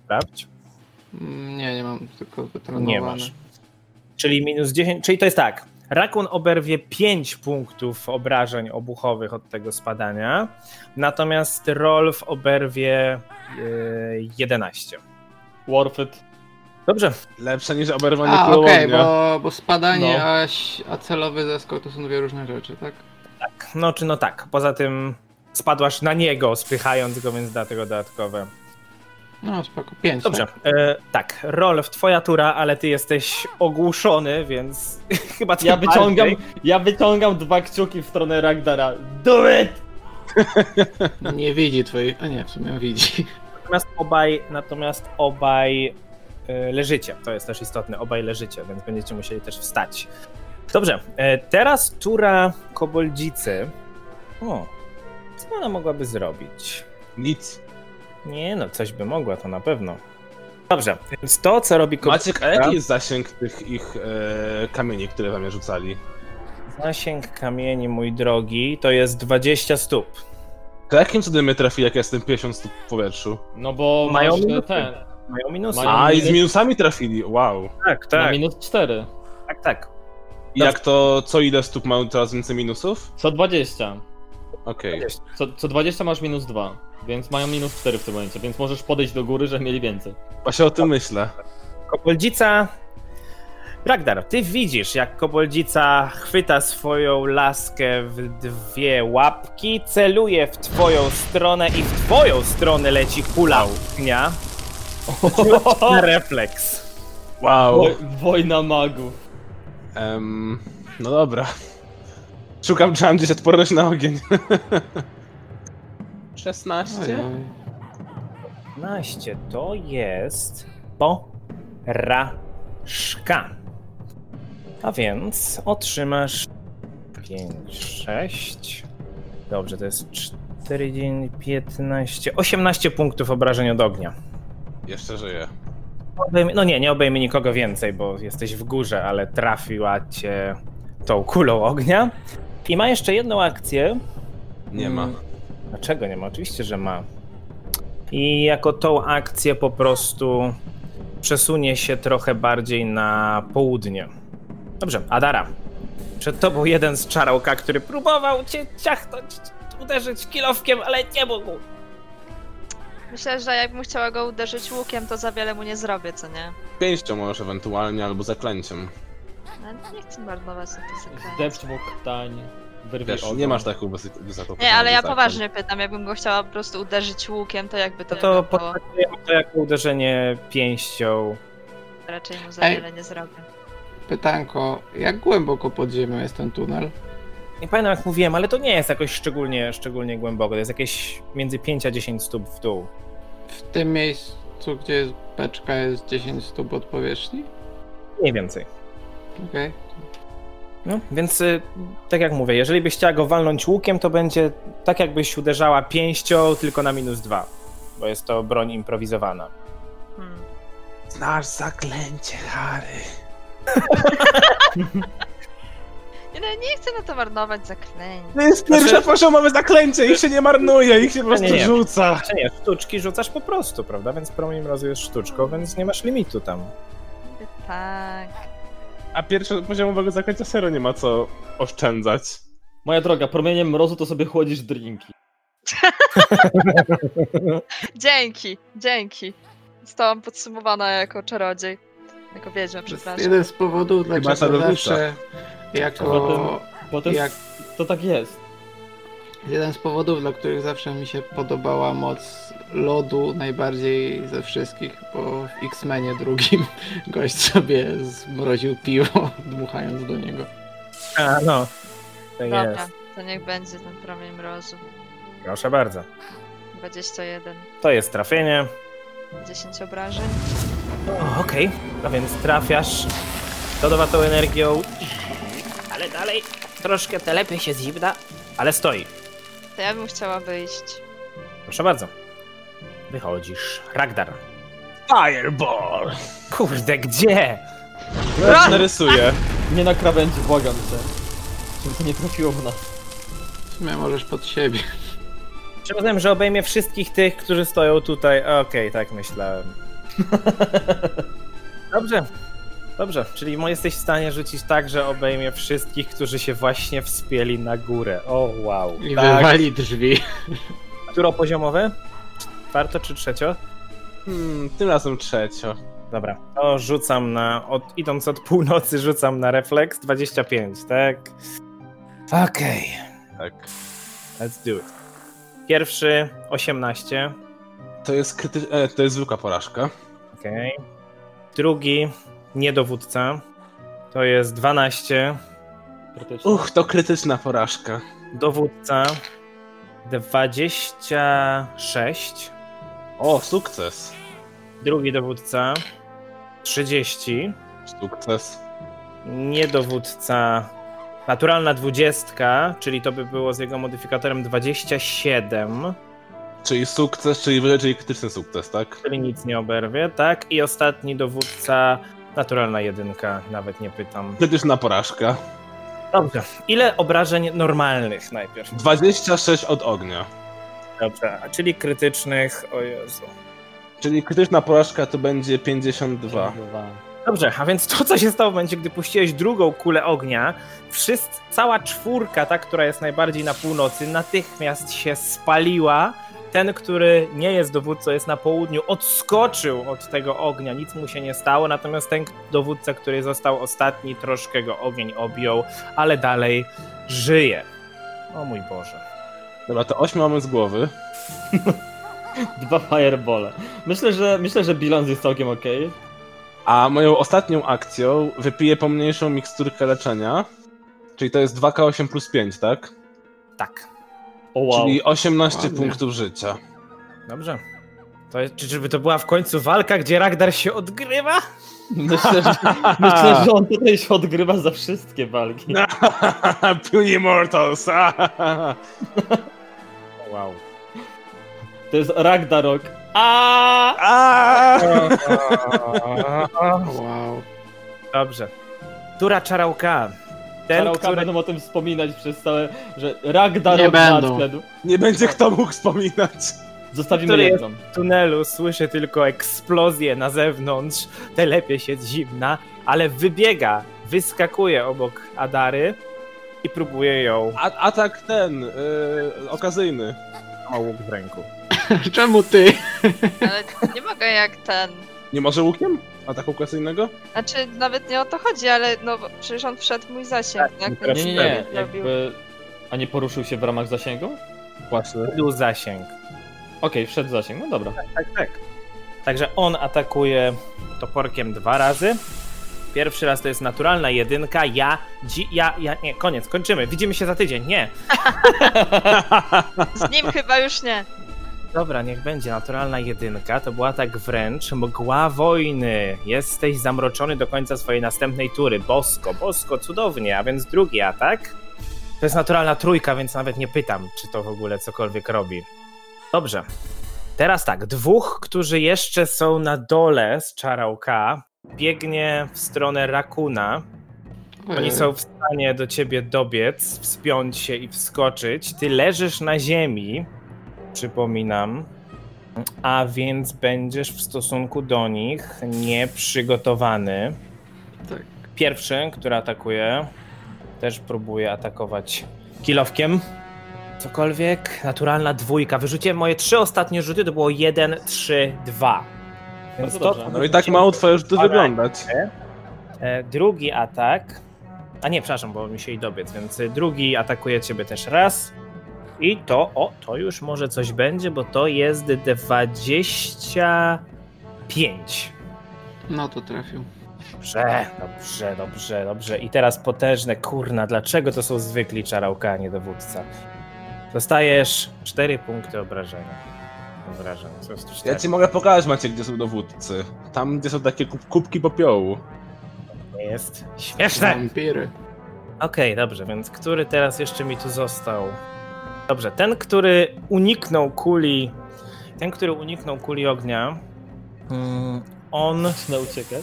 Sprawdź. Mm, Nie, nie mam, tylko wytrenowane. Nie masz. Czyli minus 10, czyli to jest tak. Rakun oberwie 5 punktów obrażeń obuchowych od tego spadania, natomiast Rolf oberwie yy, 11. Worth it. Dobrze, Lepsze niż oberwanie A, kulą okej, ognia. bo, bo spadanie, No. a, ś- a celowy zeskok to są dwie różne rzeczy, tak? no czy no tak, poza tym spadłaś na niego, spychając go, więc dlatego dodatkowe. No, spoko, pięć. Dobrze, tak? e, tak, Rolf, twoja tura, ale ty jesteś ogłuszony, więc *laughs* chyba tym Ja wyciągam, bardziej. ja wyciągam dwa kciuki w stronę Ragnara. Do it! tak. Nie widzi twojej, a nie, w sumie widzi. Natomiast obaj, natomiast obaj e, leżycie. To jest też istotne. Obaj leżycie, więc będziecie musieli też wstać. Dobrze, e, teraz tura koboldzicy. O, co ona mogłaby zrobić? Nic. Nie no, coś by mogła, to na pewno. Dobrze, więc to, co robi koboldzica, Maciek, a jaki jest zasięg tych ich e, kamieni, które wam je rzucali? zasięg kamieni, mój drogi, to jest 20 stóp. To jakim cudem mnie trafi, jak ja jestem 50 stóp w powietrzu? No bo Mają masz e, minusy. ten. Mają minusy. Mają- A, i z minus- minusami trafili, wow. tak, Na tak, minus 4. tak, tak. I jak to, co ile stóp mają teraz więcej minusów? Co 20. Okej. Co, co 20 masz minus 2. Więc mają minus 4 w tym momencie, więc możesz podejść do góry, żeby mieli więcej. Właśnie o tym myślę. Koboldzica. Ragnar, ty widzisz, jak koboldzica chwyta swoją laskę w dwie łapki, celuje w twoją stronę i w twoją stronę leci kula ognia. Na refleks. Wow. Wo- wojna magów. Em, no dobra. Szukam, czy mam gdzieś odporność na ogień. *laughs* 16? Ojoj. 15 to jest porażka. A więc otrzymasz 5, 6. Dobrze, to jest 4, 15, 18 punktów obrażeń od ognia. Jeszcze żyję. Obejmie, no nie, nie obejmie nikogo więcej, bo jesteś w górze, ale trafiła cię tą kulą ognia. I ma jeszcze jedną akcję, Nie ma. Mm. Dlaczego nie ma? Oczywiście, że ma. I jako tą akcję po prostu przesunie się trochę bardziej na południe. Dobrze, Adara. Przed tobą jeden z czarałka, który próbował cię ciachnąć, uderzyć kilowkiem, ale nie mógł. Myślę, że jakbym chciała go uderzyć łukiem, to za wiele mu nie zrobię, co nie? Pięścią możesz ewentualnie, albo zaklęciem. No, nie chcę marnować na to sekwencji. Zdepcz mu ktań, wyrwij Wiesz, ogon. nie masz tak. taką wysoką wysoką- Nie, ale ja zaklęć. poważnie pytam, jakbym go chciała po prostu uderzyć łukiem, to jakby to, No to wyglądało? potraktujemy to jako uderzenie pięścią. raczej mu za Ej. wiele nie zrobię. Pytanko, jak głęboko pod ziemią jest ten tunel? Nie pamiętam jak mówiłem, ale to nie jest jakoś szczególnie, szczególnie głęboko. To jest jakieś między 5 a 10 stóp w dół. W tym miejscu, gdzie jest beczka, jest 10 stóp od powierzchni? Mniej więcej. Okej. No, więc y, tak jak mówię, jeżeli byś chciała go walnąć łukiem, to będzie tak jakbyś uderzała pięścią, tylko na minus dwa, bo jest to broń improwizowana. Hmm. Znasz zaklęcie, Harry. Nie, no, nie chcę na to marnować zaklęć. To jest Znaczy- pierwsze poziomowe zaklęcie, ich się nie marnuje, ich się po prostu Nie, nie. rzuca. Znaczy nie, sztuczki rzucasz po prostu, prawda? Więc promim rozujesz sztuczką, więc nie masz limitu tam. Niby Tak. A pierwsze poziomowego zaklęcia serio nie ma co oszczędzać. Moja droga, promieniem mrozu to sobie chłodzisz drinki. Dzięki, dzięki. Zostałam podsumowana jako czarodziej. Jako wiedźma, To jest przepraszam. jeden z powodów, dlaczego czarownica. zawsze jako... Potem- Bo to, jest, Jak, to tak jest. jeden z powodów, dla których zawsze mi się podobała moc lodu najbardziej ze wszystkich, bo w X-Menie drugim *laughs* gość sobie zmroził piwo, dmuchając do niego. A, no. To Dobra, jest. to niech będzie ten promień mrozu. Proszę bardzo. 21, To jest trafienie. 10 obrażeń. O, Okej, no więc trafiasz. Dodawa tą energią. Ale dalej troszkę telepie się z zimna, ale stoi. To ja bym chciała wyjść. Proszę bardzo. Wychodzisz. Ragdar. Fireball! Kurde, gdzie? Ja ci narysuję. Nie na krawędzi, błagam cię. Żeby to nie trafiło w nas. W sumie możesz pod siebie. Przypominam, że obejmie wszystkich tych, którzy stoją tutaj. Okej, tak myślałem. Dobrze. Dobrze, czyli mo- jesteś w stanie rzucić tak, że obejmie wszystkich, którzy się właśnie wspięli na górę. O, wow. I Tak. wywali drzwi. Któropoziomowe? Czwarto czy trzecio? Hmm, tym razem trzecio. Dobra, to rzucam na. Od, idąc od północy, rzucam na refleks 25, tak? Okej, Tak. let's do it. Pierwszy 18. To jest kryty... e, to jest zwykła porażka. Okej. Drugi, niedowódca. To jest 12. Krytyczne. Uch, to krytyczna porażka. Dowódca 26. O, sukces. Drugi dowódca 30. Sukces. Niedowódca naturalna 20, czyli to by było z jego modyfikatorem 27, Czyli sukces, czyli wyżej, czyli krytyczny sukces, tak? czyli nic nie oberwie, tak? I ostatni dowódca naturalna 1, nawet nie pytam. Krytyczna porażka. Dobrze. Ile obrażeń normalnych najpierw? 26 od ognia. Dobrze, a czyli krytycznych, o Jezu. Czyli krytyczna porażka to będzie 52. Dobrze, a więc to, co się stało w momencie, gdy puściłeś drugą kulę ognia, wszyscy, cała czwórka, ta, która jest najbardziej na północy, natychmiast się spaliła. Ten, który nie jest dowódcą, jest na południu, odskoczył od tego ognia, nic mu się nie stało, natomiast ten dowódca, który został ostatni, troszkę go ogień objął, ale dalej żyje. O mój Boże. Dobra, to 8 mamy z głowy. Dwa firebole. Myślę, że myślę, że bilans jest całkiem okej. A moją ostatnią akcją wypiję pomniejszą miksturkę leczenia. Czyli to jest 2K8 plus 5, tak? Tak, O wow. Czyli 18 Ładnie. punktów życia. *laughs* dobrze. To, czy, czyżby to była w końcu walka, gdzie Ragdar się odgrywa? Myślę, że, *laughs* myślę, że on tutaj się odgrywa za wszystkie walki. Pew Immortals! *laughs* Wow. To jest Ragnarok. A! Wow. *laughs* Dobrze. Tura czarałka. Ten, Czarałka który... będą o tym wspominać przez całe, że Ragnarok Nie będą. nadszedł. Nie będzie kto mógł wspominać. Zostawimy Który jest- jedną. tunelu słyszy tylko eksplozję na zewnątrz, telepie się zimna, ale wybiega, wyskakuje obok Adary i próbuje ją A, atak ten, yy, okazyjny. ma łuk w ręku. *laughs* Czemu ty? *laughs* Ale nie mogę jak ten. Nie może łukiem? Ataku okazyjnego? Znaczy, nawet nie o to chodzi, ale no bo przecież on wszedł w mój zasięg. Tak, jak teraz Nie, nie, nie. najszybciej zrobił. Jakby... A nie poruszył się w ramach zasięgu? Okej, Właśnie. Był zasięg. wszedł w zasięg, no dobra. Tak, tak. Także on atakuje toporkiem dwa razy. Pierwszy raz to jest naturalna jedynka, ja, dzi, ja, ja, nie, koniec, kończymy, widzimy się za tydzień, nie. Z nim chyba już nie. Dobra, niech będzie naturalna jedynka. To była tak wręcz mgła wojny. Jesteś zamroczony do końca swojej następnej tury. Bosko, bosko, cudownie. A więc drugi atak. To jest naturalna trójka, więc nawet nie pytam, czy to w ogóle cokolwiek robi. Dobrze. Teraz tak, dwóch, którzy jeszcze są na dole z czarałka, biegnie w stronę rakuna. Oni są w stanie do ciebie dobiec, wspiąć się i wskoczyć. Ty leżysz na ziemi, przypominam, a więc będziesz w stosunku do nich nieprzygotowany. Tak. Pierwszy, który atakuje, też próbuje atakować kilowkiem. Cokolwiek, naturalna dwójka. Wyrzuciłem moje trzy ostatnie rzuty, to było 1, 3, 2. Bardzo dobrze. No i tak mało twoje rzuty Alright. wyglądać. E, Drugi atak. A nie, przepraszam, bo mi się i dobiec, więc y, drugi atakuje ciebie też raz. I to, o, to już może coś będzie, bo to jest 25. No to trafił. Dobrze, dobrze, dobrze, dobrze. I teraz potężne, kurna, dlaczego to są zwykli czarałka, a nie dowódca? Dostajesz 4 punkty obrażenia. Obrażeń, co jest Ja 4. ci mogę pokazać, Macie, gdzie są dowódcy. Tam, gdzie są takie kub- kubki popiołu. Nie jest śmieszne! Wampiry. Okej, dobrze, więc który teraz jeszcze mi tu został? Dobrze, ten, który uniknął kuli. Ten, który uniknął kuli ognia. mm, On. Zacznę uciekać.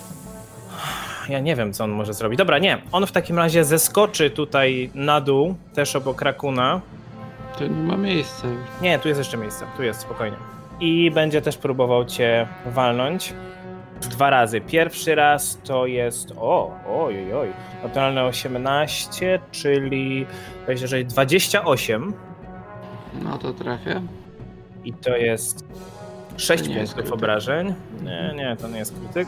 Ja nie wiem, co on może zrobić. Dobra, nie. On w takim razie zeskoczy tutaj na dół, też obok rakuna. To nie ma miejsca już. Nie, tu jest jeszcze miejsce. Tu jest, spokojnie. I będzie też próbował cię walnąć. Dwa razy. Pierwszy raz to jest. O, oj, oj, oj. Naturalne 18, czyli. Weź, że 28. No to trafia. I to jest 6 To nie jest punktów krytyk. Mhm. obrażeń. Nie, nie, to nie jest krytyk.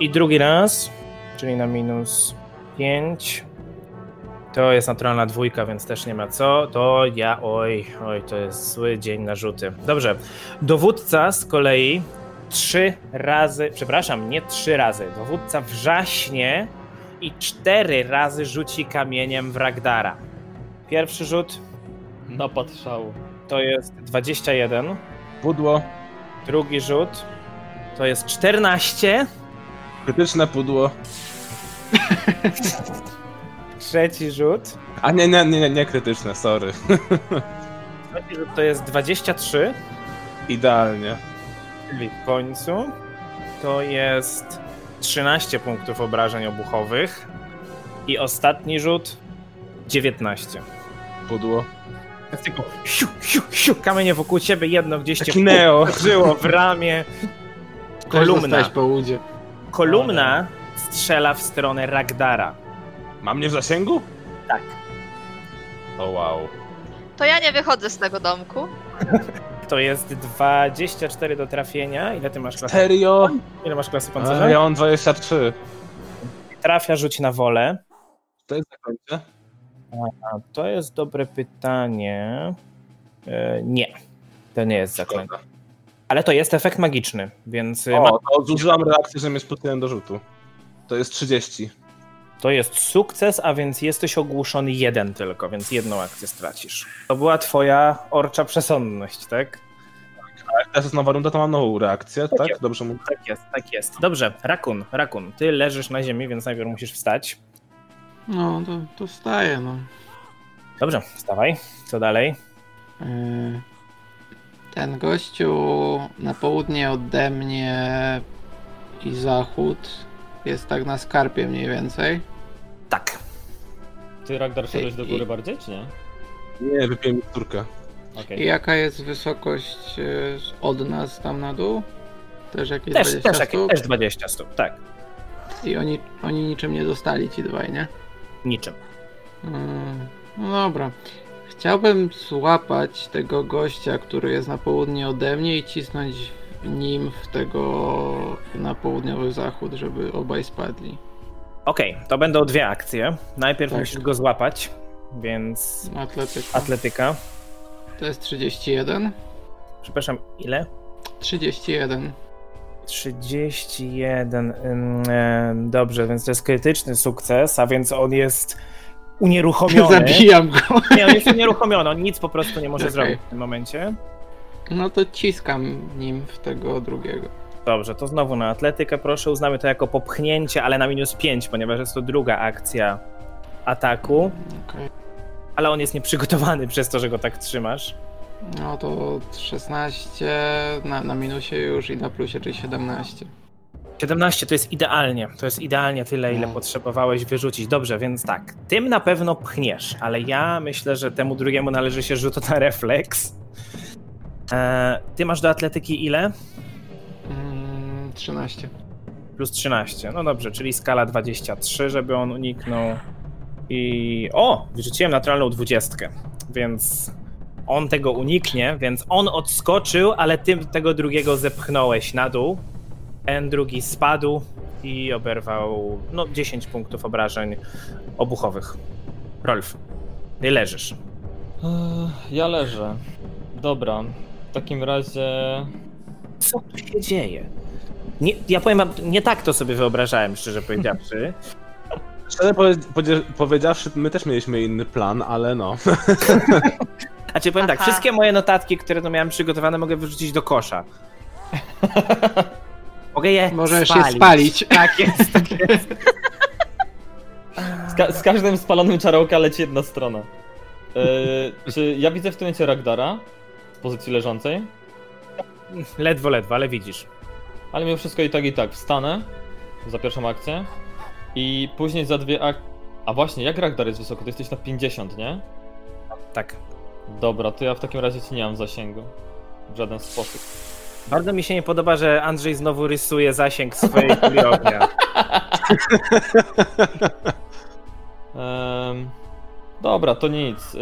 I drugi raz, czyli na minus 5. To jest naturalna dwójka, więc też nie ma co. To ja, oj, oj, to jest zły dzień na rzuty. Dobrze. Dowódca z kolei trzy razy, przepraszam, nie trzy razy. Dowódca wrzaśnie i cztery razy rzuci kamieniem w Ragdara. Pierwszy rzut Napad szału. to jest 21. Pudło, Drugi rzut to jest 14. krytyczne pudło. Trzeci rzut. A nie, nie, nie, nie, nie krytyczne, sorry. Trzeci rzut to jest 23. Idealnie. Czyli w końcu to jest 13 punktów obrażeń obuchowych. I ostatni rzut 19. Pudło. Tak tylko siu, siu, siu, kamienie wokół ciebie, jedno gdzieś cię Taki neo. wkurzyło w ramię. Kolumna. Kolumna. po łudzie. Kolumna No, strzela w stronę Ragdara. Ma mnie w zasięgu? Tak. O wow. To ja nie wychodzę z tego domku. To jest 24 do trafienia. Ile ty masz klasy? Serio? Ile masz klasy A, pancerza? ja mam 23. Trafia, rzuć na wolę. To jest zakończę. A to jest dobre pytanie. E, nie, to nie jest zaklęcie. Szkoda. Ale to jest efekt magiczny, więc e, ma, O, to zużyłam reakcję, że mnie spotykałem do rzutu. To jest 30. to jest sukces, a więc jesteś ogłuszony jeden tylko, więc jedną akcję stracisz. To była twoja orcza przesądność, tak? Jak teraz jest nowa runda, to mam nową reakcję, tak? Dobrze mówię. Tak jest, tak jest. Dobrze, Rakun, Rakun, ty leżysz na ziemi, więc najpierw musisz wstać. No, to, to staje, no. Dobrze, wstawaj. Co dalej? Yy, Ten gościu na południe ode mnie i zachód jest tak na skarpie mniej więcej. Tak. Ty Ragdar szedłeś do I- góry bardziej, czy nie? Nie, wypiłem turkę. Okej. I jaka jest wysokość yy, od nas tam na dół? Też jakieś Też, 20 też, stóp? też 20 stóp, tak. I oni, oni niczym nie dostali ci dwaj, nie? Niczym. Mm, No dobra. Chciałbym złapać tego gościa, który jest na południe ode mnie i cisnąć nim w tego na południowy zachód, żeby obaj spadli. Okej, to będą dwie akcje. Najpierw Tak. musisz go złapać, więc Atletyka. atletyka. To jest 31. Przepraszam, ile? 31. 31. Ym, em, Dobrze, więc to jest krytyczny sukces, a więc on jest *laughs* unieruchomiony. Zabijam go. Nie, on jest unieruchomiony, on nic po prostu nie może Okej. zrobić w tym momencie. No to ciskam nim w tego drugiego. Dobrze, to znowu na atletykę proszę, uznamy to jako popchnięcie, ale na minus 5, ponieważ jest to druga akcja ataku, Okej. ale on jest nieprzygotowany *laughs* przez to, że go tak trzymasz. No to 16 na, na minusie już i na plusie, czyli 17. 17 to jest idealnie. To jest idealnie tyle, ile No. potrzebowałeś wyrzucić. Dobrze, więc tak. Tym na pewno pchniesz, ale ja myślę, że temu drugiemu należy się rzut na refleks. E, ty masz do atletyki ile? Mm, 13. Plus 13. No dobrze, czyli skala 23, żeby on uniknął. I. O! Wyrzuciłem naturalną 20, więc. On tego uniknie, więc on odskoczył, ale tym tego drugiego zepchnąłeś na dół. Ten drugi spadł i oberwał no 10 punktów obrażeń obuchowych. Rolf, ty leżysz. Ech, Ja leżę. Dobra. W takim razie. Co tu się dzieje? Nie, ja powiem wam, nie tak to sobie wyobrażałem, szczerze powiedziawszy. Szczerze powie- podzie- powiedziawszy, my też mieliśmy inny plan, ale no. *laughs* Znaczy powiem tak, Aha. wszystkie moje notatki, które tu miałem przygotowane, mogę wyrzucić do kosza. Mogę je Możesz spalić. je spalić. Tak jest, tak jest. Z, ka- z każdym spalonym czarołka leci jedna strona. Yy, czy ja widzę w tym momencie Ragdara z pozycji leżącej? Ledwo, ledwo, ale widzisz. Ale mimo wszystko i tak i tak wstanę za pierwszą akcję i później za dwie ak... A właśnie, jak Ragdar jest wysoko? Ty jesteś na 50, nie? Tak. Dobra, to ja w takim razie ci nie mam zasięgu. W żaden sposób. Bardzo mi się nie podoba, że Andrzej znowu rysuje zasięg *laughs* swojej kuli ognia. Em, dobra, to nic. E,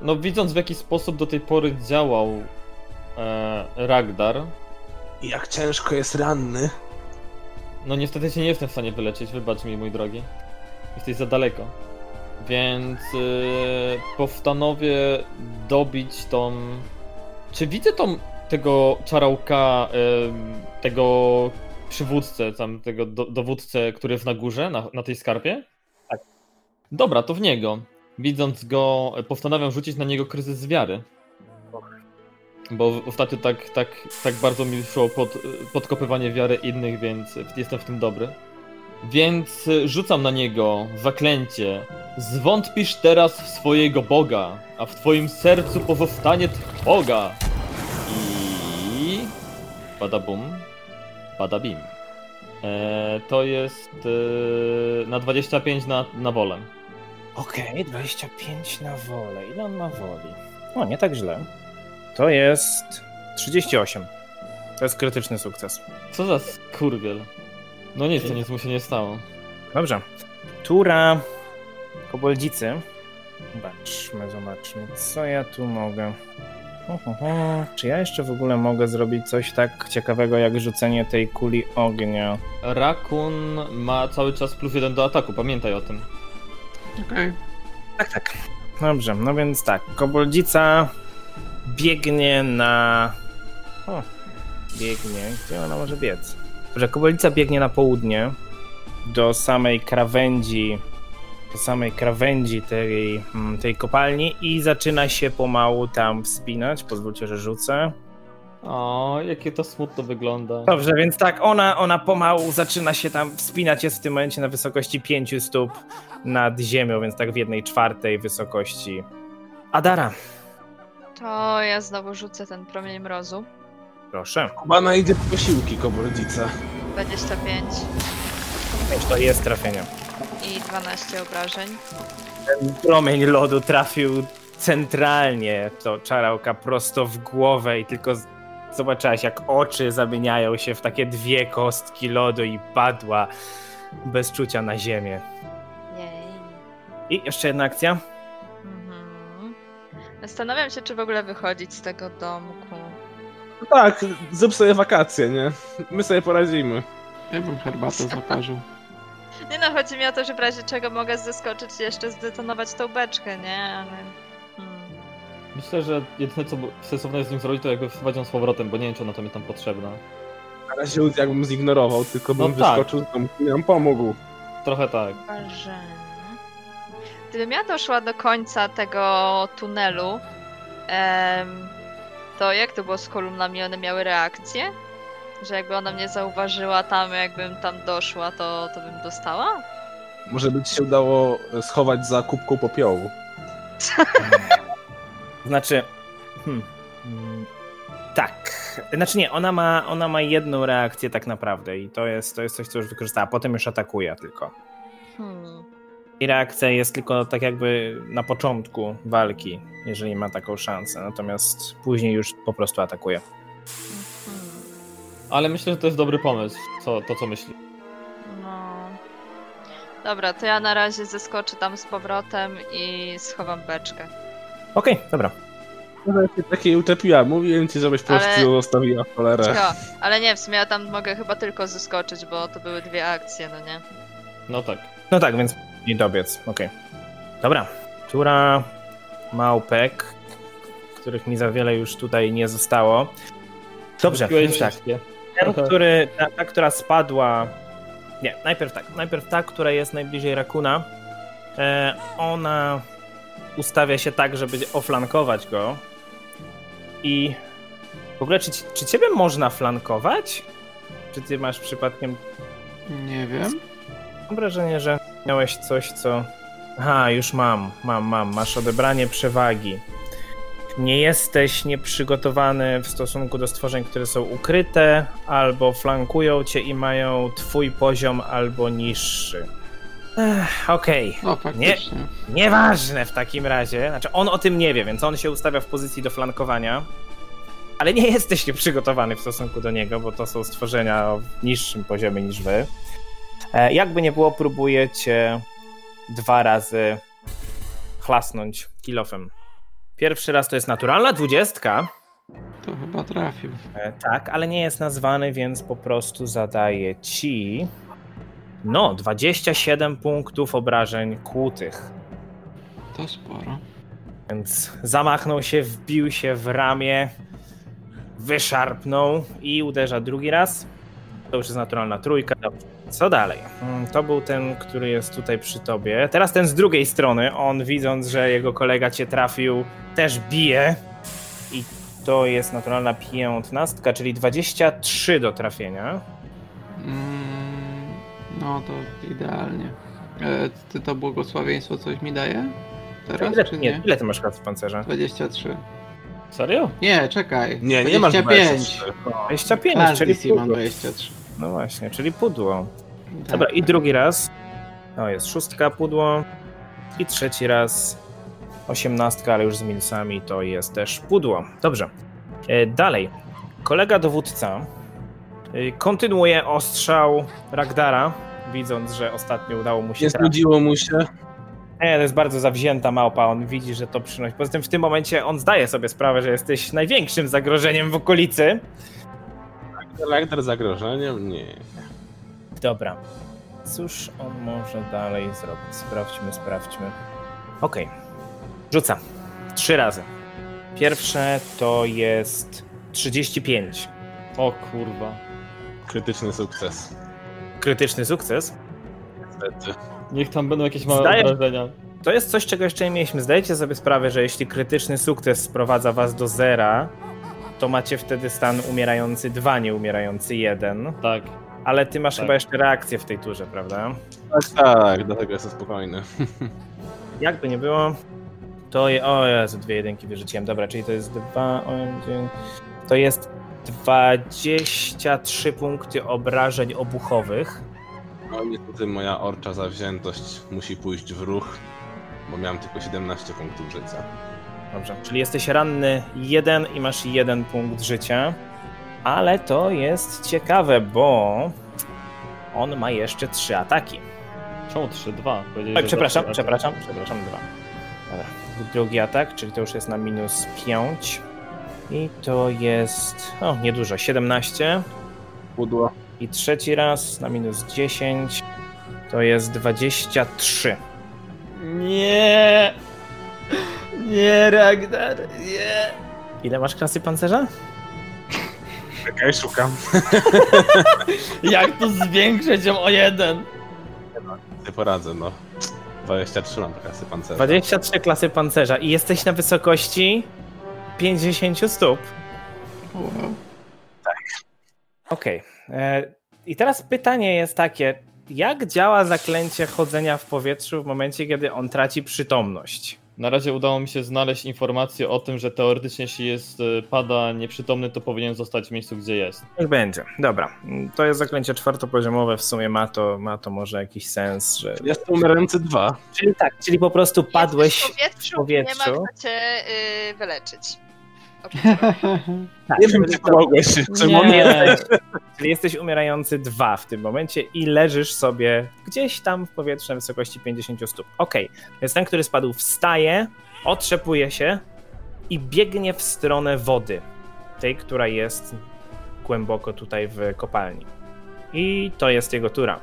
no widząc w jaki sposób do tej pory działał e, Ragdar, Jak ciężko jest ranny. no niestety cię nie jestem w stanie wyleczyć, wybacz mi mój drogi. Jesteś za daleko. Więc e, postanowię dobić tą... Czy widzę tą, tego czarałka, em, tego przywódcę, tam tego do, dowódcę, który jest na górze, na, na tej skarpie? Tak. Dobra, to w niego. Widząc go, e, postanawiam rzucić na niego kryzys wiary. Bo w- ostatnio tak, tak, tak bardzo mi szło pod, e, podkopywanie wiary innych, więc e, jestem w tym dobry. Więc e, rzucam na niego zaklęcie. Zwątpisz teraz w swojego Boga, a w twoim sercu pozostanie trwoga. I... Bada bum, bada bim. E, to jest e, na 25 na, na wolę. Okej, 25 na wolę. Ile on ma woli? O, nie tak źle. To jest 38. To jest krytyczny sukces. Co za skurwiel. No nic, to nic mu się nie stało. Dobrze. Tura koboldzicy. Zobaczmy, zobaczmy, co ja tu mogę. Ho, ho, ho. Czy ja jeszcze w ogóle mogę zrobić coś tak ciekawego jak rzucenie tej kuli ognia? Rakun ma cały czas plus jeden do ataku, pamiętaj o tym. *laughs* Okej. Tak, tak. Dobrze, no więc tak. Koboldzica biegnie na. O, biegnie. Gdzie ona może biec? Dobrze, koboldzica biegnie na południe do samej krawędzi. Do samej krawędzi tej, mm, tej kopalni i zaczyna się pomału tam wspinać. Pozwólcie, że rzucę. O, jakie to smutno wygląda. Dobrze, więc tak, ona, ona pomału zaczyna się tam wspinać, jest w tym momencie na wysokości 5 stóp nad ziemią, więc tak w jednej czwartej wysokości. Adara, To ja znowu rzucę ten promień mrozu. proszę. Kubana idzie po posiłki, kobordzica. 25 To jest trafienie. i 12 obrażeń. Promień lodu trafił centralnie, to czarałka prosto w głowę i tylko z- zobaczyłaś, jak oczy zamieniają się w takie dwie kostki lodu i padła bez czucia na ziemię. Jej. I jeszcze jedna *laughs* akcja. Mhm. Zastanawiam się, czy w ogóle wychodzić z tego domku. No tak, zrób sobie wakacje, nie? My sobie poradzimy. Ja bym herbatę zaparzył. Nie no, chodzi mi o to, że w razie czego mogę zeskoczyć i jeszcze zdetonować tą beczkę, nie? Ale... Hmm. Myślę, że jedyne co sensowne jest z nim zrobić, to jakby wsadzić ją z powrotem, bo nie wiem, czy ona tam jest tam potrzebna. Na razie jakbym zignorował, tylko bym No tak. wyskoczył z domku i nam pomógł. Trochę tak. Marzenie. Gdybym ja hmm, doszła do końca tego tunelu, em, to jak to było z kolumnami? One miały reakcję? Że jakby ona mnie zauważyła tam, jakbym tam doszła, to, to bym dostała? Może by ci się udało e, schować za kubką popiołu. Znaczy. Hmm, mm, tak. Znaczy nie, ona ma, ona ma jedną reakcję tak naprawdę i to jest, to jest coś, co już wykorzystała. Potem już atakuje tylko. Hmm. I reakcja jest tylko tak jakby na początku walki, jeżeli ma taką szansę. Natomiast później już po prostu atakuje. hmm. Ale myślę, że to jest dobry pomysł, co, to co myśli. No. Dobra, to ja na razie zeskoczę tam z powrotem i schowam beczkę. Okej, dobra. No, Takiej uczepiła, mówiłem ci, żebyś po Ale- prostu ją zostawiła w cholerę. Cicho. Ale nie, w sumie ja tam mogę chyba tylko zeskoczyć, bo to były dwie akcje, no nie? No tak. No tak, więc nie dobiec. Okej. Dobra. Tura małpek, których mi za wiele już tutaj nie zostało. Dobrze, Kupiłeś więc tak. wszystkie. Ten, Trochę. który, ta, ta, która spadła. Nie, najpierw tak. Najpierw ta, która jest najbliżej rakuna. E, ona ustawia się tak, żeby oflankować go. I w ogóle, czy, ci- czy ciebie można flankować? Czy ty masz przypadkiem Nie wiem. Mam wrażenie, że miałeś coś, co. Aha, już mam, mam, mam. Masz odebranie przewagi. Nie jesteś nieprzygotowany w stosunku do stworzeń, które są ukryte, albo flankują cię i mają twój poziom albo niższy. Ech, Okej, O, No, faktycznie. nieważne w takim razie. Znaczy, on o tym nie wie, więc on się ustawia w pozycji do flankowania. Ale nie jesteś *laughs* nieprzygotowany w stosunku do niego, bo to są stworzenia o niższym poziomie niż wy. E, Jakby nie było, próbujecie dwa razy chlasnąć kilofem. Pierwszy raz to jest naturalna dwudziestka. To chyba trafił. E, Tak, ale nie jest nazwany, więc po prostu zadaję ci. No, 27 punktów obrażeń kłutych. To sporo. Więc zamachnął się, wbił się w ramię, wyszarpnął i uderza drugi raz. To już jest naturalna trójka. Dobrze. Co dalej? Mm, To był ten, który jest tutaj przy tobie. Teraz ten z drugiej strony. On widząc, że jego kolega cię trafił, też bije. I to jest naturalna piętnastka, czyli 23 do trafienia. Mm, no to idealnie. E, ty to błogosławieństwo coś mi daje? Teraz ile, czy nie? nie, ile ty masz kart w pancerze? 23. Serio? Nie, czekaj. Nie, nie masz 25. 25, Class czyli DC mam pudło. 23. No właśnie, czyli pudło. Tak, Dobra, i tak. drugi raz. O, jest szóstka pudło. I trzeci raz. 18, ale już z milsami to jest też pudło. Dobrze. E, Dalej. Kolega dowódca e, kontynuuje ostrzał Ragdara, widząc, że ostatnio udało mu się Nie trafić. znudziło mu się. Nie, to jest bardzo zawzięta małpa, on widzi, że to przynosi. Poza tym w tym momencie on zdaje sobie sprawę, że jesteś największym zagrożeniem w okolicy. Charakter zagrożeniem? Nie. Dobra. Cóż on może dalej zrobić? Sprawdźmy, sprawdźmy. Okej. Rzuca. Trzy razy. Pierwsze to jest 35. O kurwa. Krytyczny sukces. Krytyczny sukces. Niestety. Niech tam będą jakieś małe Zdajesz- wrażenia. To jest coś, czego jeszcze nie mieliśmy. Zdajecie sobie sprawę, że jeśli krytyczny sukces sprowadza was do zera, to macie wtedy stan umierający 2, nie umierający 1. Tak. Ale ty masz Tak. chyba jeszcze reakcję w tej turze, prawda? Tak, tak, dlatego jestem spokojny. Jakby nie było, to je... O Jezu, dwie jedynki wyrzuciłem. Dobra, czyli to jest dwa... osiem, dziewięć- To jest 23 punkty obrażeń obuchowych. No niestety moja orcza zawziętość musi pójść w ruch, bo miałem tylko 17 punktów życia. Dobrze, czyli jesteś ranny jeden i masz jeden punkt życia. Ale to jest ciekawe, bo on ma jeszcze trzy ataki. Czemu 3, 2? Oj, Tak, przepraszam, przepraszam, przepraszam, dwa. Dobra. Drugi atak, czyli to już jest na minus 5. I to jest. O, niedużo, 17. Pudło. I trzeci raz na minus 10 to jest 23. Nie! Nie, Ragnar, nie! Ile masz klasy pancerza? Czekaj, szukam. Jak to zwiększyć ją o jeden? Nie poradzę, no. 23 mam kasy pancerza. 23 klasy pancerza i jesteś na wysokości 50 stóp. Wow. Okej. E, I teraz pytanie jest takie: jak działa zaklęcie chodzenia w powietrzu w momencie, kiedy on traci przytomność? Na razie udało mi się znaleźć informację o tym, że teoretycznie jeśli jest y, pada nieprzytomny, to powinien zostać w miejscu, gdzie jest. Niech będzie. Dobra. Mm, To jest zaklęcie czwartopoziomowe, w sumie ma to, ma to może jakiś sens, że. Jestem umierający 2. Czyli tak, czyli po prostu Jesteś padłeś. w powietrzu, powietrzu. nie ma kto cię y, wyleczyć. *laughs* Tak, Nie wiem, czy pomogłeś. Czy Nie. mogę? *laughs* Czyli jesteś umierający dwa w tym momencie i leżysz sobie gdzieś tam w powietrzu na wysokości 50 stóp. Okej, więc ten, który spadł, wstaje, otrzepuje się i biegnie w stronę wody, tej, która jest głęboko tutaj w kopalni. I to jest jego tura.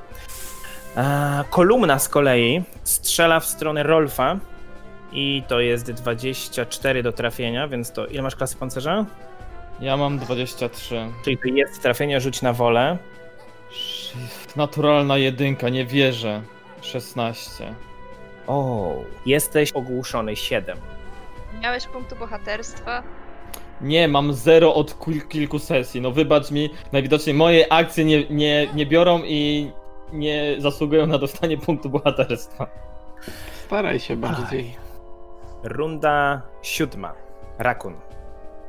A, kolumna z kolei strzela w stronę Rolfa i to jest 24 do trafienia, więc to ile masz klasy pancerza? Ja mam 23. Czyli to jest trafienie, rzuć na wolę. Shift, Naturalna jedynka, nie wierzę. 16. O. Jesteś ogłuszony 7. Miałeś punktu bohaterstwa. Nie, mam zero od kil- kilku sesji. No wybacz mi, najwidoczniej moje akcje nie, nie, nie biorą i nie zasługują na dostanie punktu bohaterstwa. *laughs* Staraj się bardziej. Runda siódma. Rakun.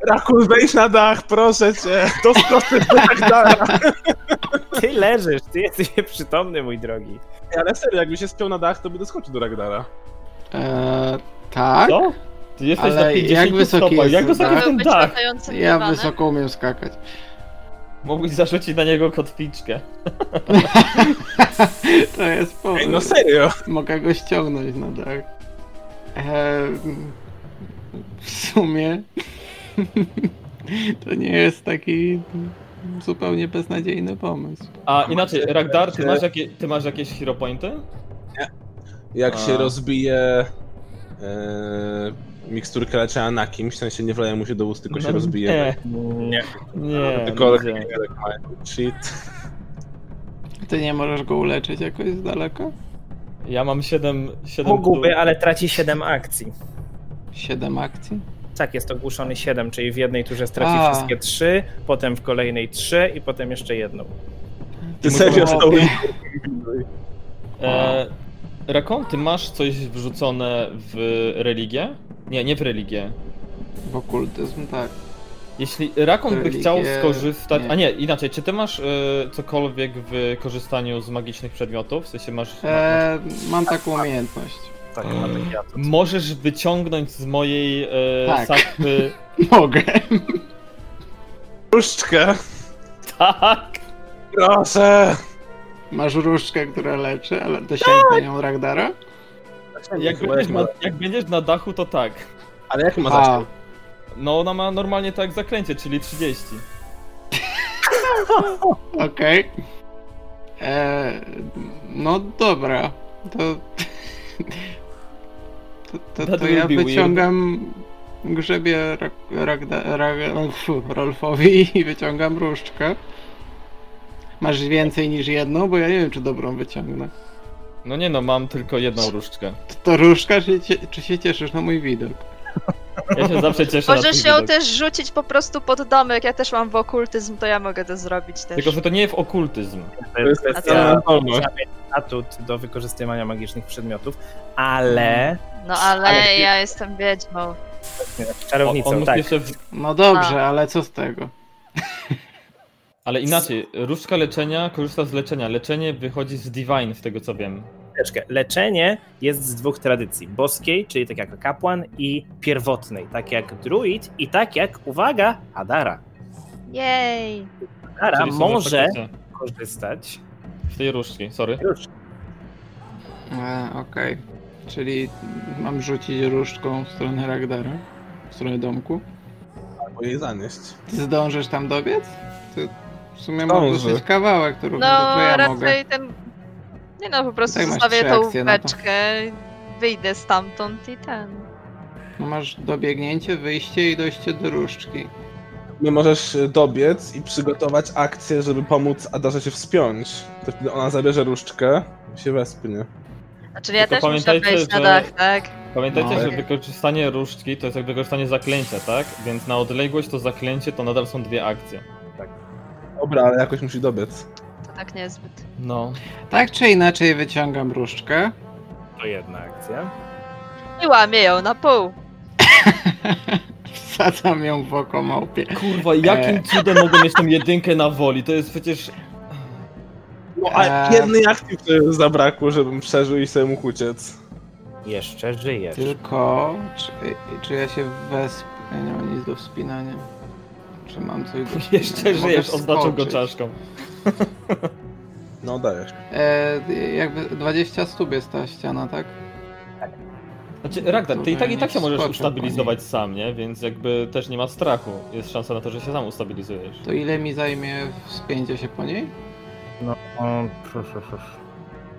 Rakun, wejdź na dach, proszę cię. To skosty tak dalej. Ty leżysz, ty jesteś nieprzytomny, mój drogi. Ale serio, jakby się spiął na dach, to by doskoczył do Ragdara. E, tak? Co? Ty jesteś Ale na 50 jak wysoki tak? stopach. jest jak wysoki dach? Miał jest ten być dach? latającym Ja dywanem. wysoko umiem skakać. *laughs* Mogłeś zarzucić na niego kotwiczkę. to jest Ej, no powód. serio. Mogę go ściągnąć na dach. Eee, w sumie *laughs* to nie jest taki zupełnie beznadziejny pomysł. A inaczej, Macie- Ragdar, ty macie- masz, jakie, ty masz jakieś hero pointy? Jak A. się rozbije e, miksturkę leczenia na kimś, w sensie nie wleje mu się do ust, tylko się No rozbije. tak? Nie, Nie. nie. Tylko nie. shit. Ty nie możesz go uleczyć jakoś z daleka? Ja mam 7. 7 Mógłby, ale traci 7 akcji. Siedem akcji? Tak, jest ogłuszony 7, czyli w jednej turze straci A. wszystkie 3, potem w kolejnej 3 i potem jeszcze jedną. Ty No serio to- stoisz? E, Rakon, ty masz coś wrzucone w religię? Nie, nie w religię. W okultyzm, tak. Jeśli Rakon by Religię- chciał skorzystać. nie. A nie, inaczej, czy ty masz e, E, cokolwiek w korzystaniu z magicznych przedmiotów? W sensie masz. ma- masz... Eee, mam Ehm, taką umiejętność. Tak, ma taki atut. Możesz wyciągnąć z mojej e, Tak. *laughs* sakwy. Mogę. Różdżkę! Tak! Proszę! Masz różdżkę, która leczy, ale Tak! dosięgnie nią Ragdara? Jak Chyba będziesz, Znaczy, ma- na, jak będziesz na dachu, to tak. Ale jak ma A, zasięg? No ona ma normalnie tak zaklęcie, czyli 30. okej. E, No dobra. To... To, to, That to will ja be weird. wyciągam... Grzebię Ra- Ragda- Ra- fu, Rolfowi *laughs* i wyciągam różdżkę. Masz więcej niż jedną, bo ja nie wiem, czy dobrą wyciągnę. No nie no, mam tylko jedną różdżkę. To, to różdżka, czy, cie- czy się cieszysz na mój widok? Ja się zawsze cieszę na Możesz twój ją widok. też rzucić po prostu pod domek. Ja też mam w okultyzm, to ja mogę to zrobić też. Tylko, że to nie w okultyzm. To jest A kwestia atut do wykorzystywania magicznych przedmiotów, ale No ale, Ale- ja jestem wiedźmą. O, czarownicą, on mógł tak. jeszcze w... No dobrze, ale co z tego? Ale inaczej, różdżka leczenia korzysta z leczenia. Leczenie wychodzi z divine, z tego co wiem. Chwileczkę. Leczenie jest z dwóch tradycji. Boskiej, czyli tak jak kapłan i pierwotnej, tak jak druid i tak jak, uwaga, Adara. Jej! Adara Czyli są może faktycznie korzystać Z tej różdżki, sorry. E, Okej. Czyli mam rzucić różdżką w stronę Ragdara? W stronę domku? Albo jej zanieść. Ty zdążysz tam dobiec? Ty w sumie Zdążę. masz dosyć kawałek, to równie No dobrze ja mogę. raczej ten... Nie no, po prostu Tak, masz zostawię trzy tą akcje na to. łóweczkę, wyjdę stamtąd i ten... No masz dobiegnięcie, wyjście i dojście do różdżki. Nie możesz y, dobiec i przygotować akcję, żeby pomóc Adarze się wspiąć. To wtedy ona zabierze różdczkę i się wespnie. A czyli Znaczy, no ja Tylko też muszę pamiętajcie, wejść na że- dach, tak? Pamiętajcie, No. że wykorzystanie różdżki to jest jak wykorzystanie zaklęcia, tak? Więc na odległość to zaklęcie to nadal są dwie akcje. Dobra, ale jakoś musi dobiec. To tak niezbyt. No. Tak czy inaczej wyciągam różdżkę. *laughs* to jedna akcja. I łamię ją na pół. Wsadzam ją w oko małpie. Kurwa, jakim E. cudem mogłem mieć tą jedynkę na woli? To jest przecież... No a Eee. jednej akcji to już zabrakło, żebym przeżył i sobie mógł uciec. Jeszcze żyjesz. Tylko czy, czy ja się wesp... Ja nie mam nic do wspinania. Czy mam coś do wspinania? Jeszcze Mogę żyjesz, oznaczą go wskoczyć. czaszką. No dajesz. E, jakby 20 stóp jest ta ściana, tak? Znaczy, Ragnar, ty i tak i tak się możesz Skoczył, ustabilizować sam, nie? Więc jakby też nie ma strachu. Jest szansa na to, że się sam ustabilizujesz. To ile mi zajmie wspięcie się po niej? O, pr- pr- pr.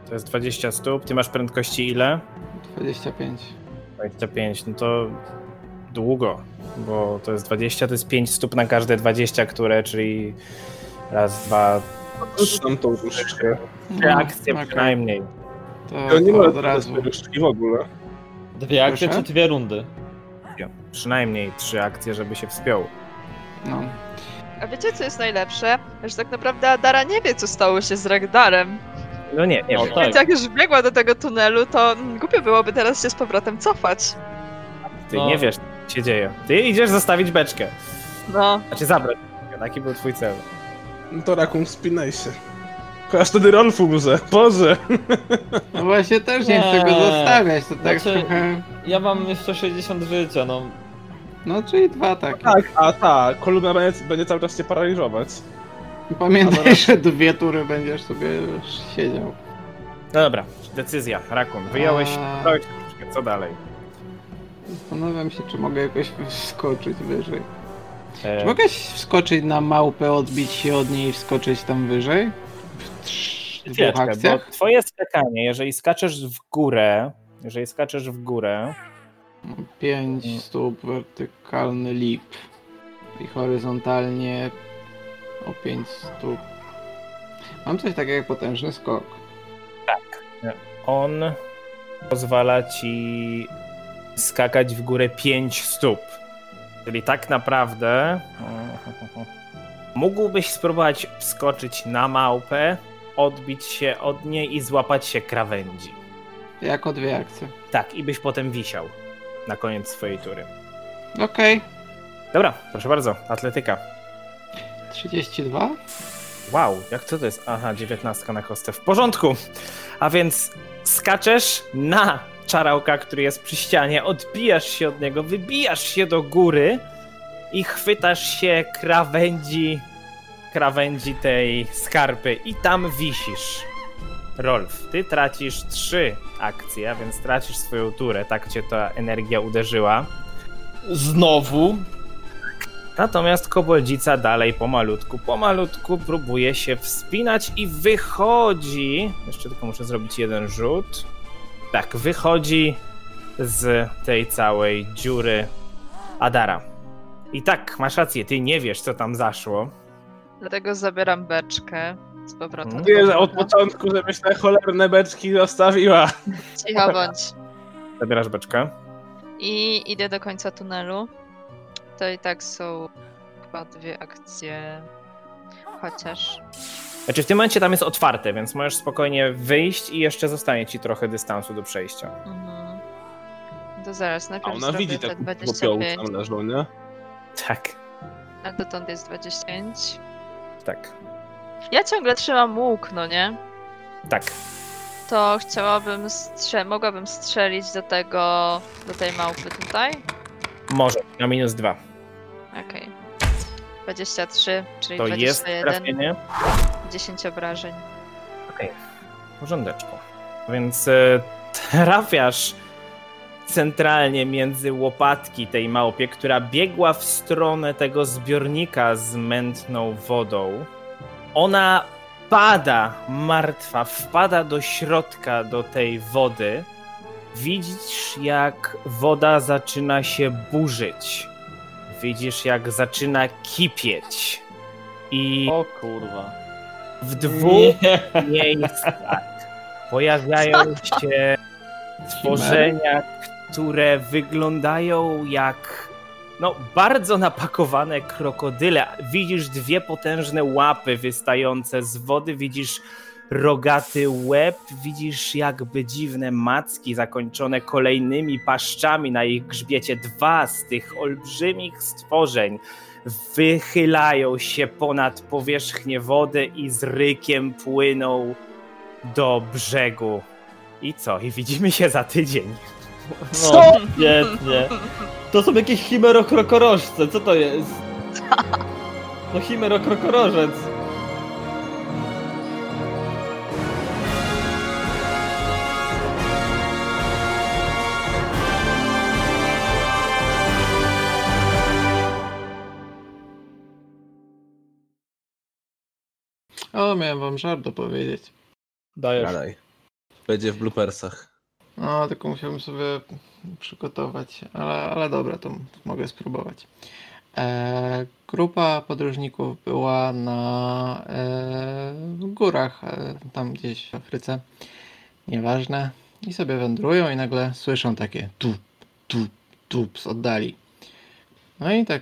To jest 20 stóp. Ty masz prędkości ile? 25. 25. No to długo, bo to jest 20, to jest 5 stóp na każde 20, które, czyli raz, dwa, Trzymam tą różdżkę. trzy akcje No, Mm, okej. przynajmniej. To, Tak, To nie to ma od razu. różdżki w ogóle. Dwie akcje Proszę? czy dwie rundy? Przynajmniej trzy akcje, żeby się wspiął. No. A wiecie co jest najlepsze? Że tak naprawdę Adara nie wie co stało się z Ragdarem. No nie, nie No wiem. tak. Więc jak już biegła do tego tunelu, to mm, głupio byłoby teraz się z powrotem cofać. Ty No. nie wiesz, co się dzieje. Ty idziesz zostawić beczkę. No. Znaczy zabrać beczkę. Taki był twój cel. No to Rakun, wspinaj się. Chociaż wtedy Rolf umrze. Boże! no właśnie też nie chcę go Nie. zostawiać, to tak Znaczy- trochę... Ja mam jeszcze 60 życia, no. No czyli dwa takie. Tak, a ta, kolumna będzie, będzie cały czas cię paraliżować. Pamiętaj, że dwie tury będziesz sobie siedział. No dobra, decyzja, rakun. Wyjąłeś, A. wyjąłeś troszkę, co dalej? Zastanawiam się, czy mogę jakoś wskoczyć wyżej. E, Czy mogę wskoczyć na małpę, odbić się od niej i wskoczyć tam wyżej? W trz- dwóch chwileczkę, bo akcjach? twoje skakanie, jeżeli skaczesz w górę, jeżeli skaczesz w górę, Pięć stóp, wertykalny lip i horyzontalnie o pięć stóp. Mam coś takiego jak potężny skok. on pozwala ci skakać w górę 5 stóp. Czyli tak naprawdę *laughs* mógłbyś spróbować wskoczyć na małpę, odbić się od niej i złapać się krawędzi. Jako dwie akcje. Tak, i byś potem wisiał na koniec swojej tury. Okej, Dobra, proszę bardzo, atletyka. 32. Wow, jak co to jest? Aha, dziewiętnastka na kostę. W porządku. A więc skaczesz na czarałka, który jest przy ścianie, odbijasz się od niego, wybijasz się do góry i chwytasz się krawędzi, krawędzi tej skarpy i tam wisisz. Rolf, ty tracisz trzy akcje, a więc tracisz swoją turę, tak cię ta energia uderzyła. Znowu? Natomiast koboldzica dalej pomalutku, pomalutku próbuje się wspinać i wychodzi. Jeszcze tylko muszę zrobić jeden rzut. Tak, wychodzi z tej całej dziury Adara. I tak, masz rację, ty nie wiesz, co tam zaszło. Dlatego zabieram beczkę z powrotem. Mhm. do Nie, że od worka. początku, żebyś te cholerne beczki zostawiła. Cicho bądź. Zabierasz beczkę. I idę do końca tunelu. To i tak są chyba dwie akcje. Chociaż. Znaczy, w tym momencie tam jest otwarte, więc możesz spokojnie wyjść i jeszcze zostanie ci trochę dystansu do przejścia. Mhm. To zaraz, A najpierw ona zrobię tak widzi te te popioły 25, tam leżą, nie? Tak, a dotąd jest 25. tak, Ja ciągle trzymam łuk, no nie? tak. To chciałabym strze- mogłabym strzelić do tego, do tej małpy tutaj. Może, na minus dwa. Okej. 23, czyli To jest 21, trafienie. 10 obrażeń. porządeczku. Więc e, *laughs* trafiasz centralnie między łopatki tej małpie, która biegła w stronę tego zbiornika z mętną wodą. Ona pada martwa, wpada do środka do tej wody. Widzisz, jak woda zaczyna się burzyć. Widzisz, jak zaczyna kipieć. I O kurwa. w dwóch miejscach pojawiają się tworzenia, które wyglądają jak no, bardzo napakowane krokodyle. Widzisz dwie potężne łapy wystające z wody, widzisz rogaty łeb, widzisz jakby dziwne macki zakończone kolejnymi paszczami na ich grzbiecie. Dwa z tych olbrzymich stworzeń wychylają się ponad powierzchnię wody i z rykiem płyną do brzegu. I co? I widzimy się za tydzień. Co? no, Świetnie. To są jakieś chimerokrokorożce, co to jest? No chimerokrokorożec. O, miałem wam żart dopowiedzieć. Dajesz. Dalej. Będzie w bloopersach. No, tylko musiałbym sobie przygotować, ale, ale dobra, to m- mogę spróbować. E, grupa podróżników była na e, w górach, e, tam gdzieś w Afryce, nieważne, i sobie wędrują i nagle słyszą takie tup, tup, tup z oddali. No i tak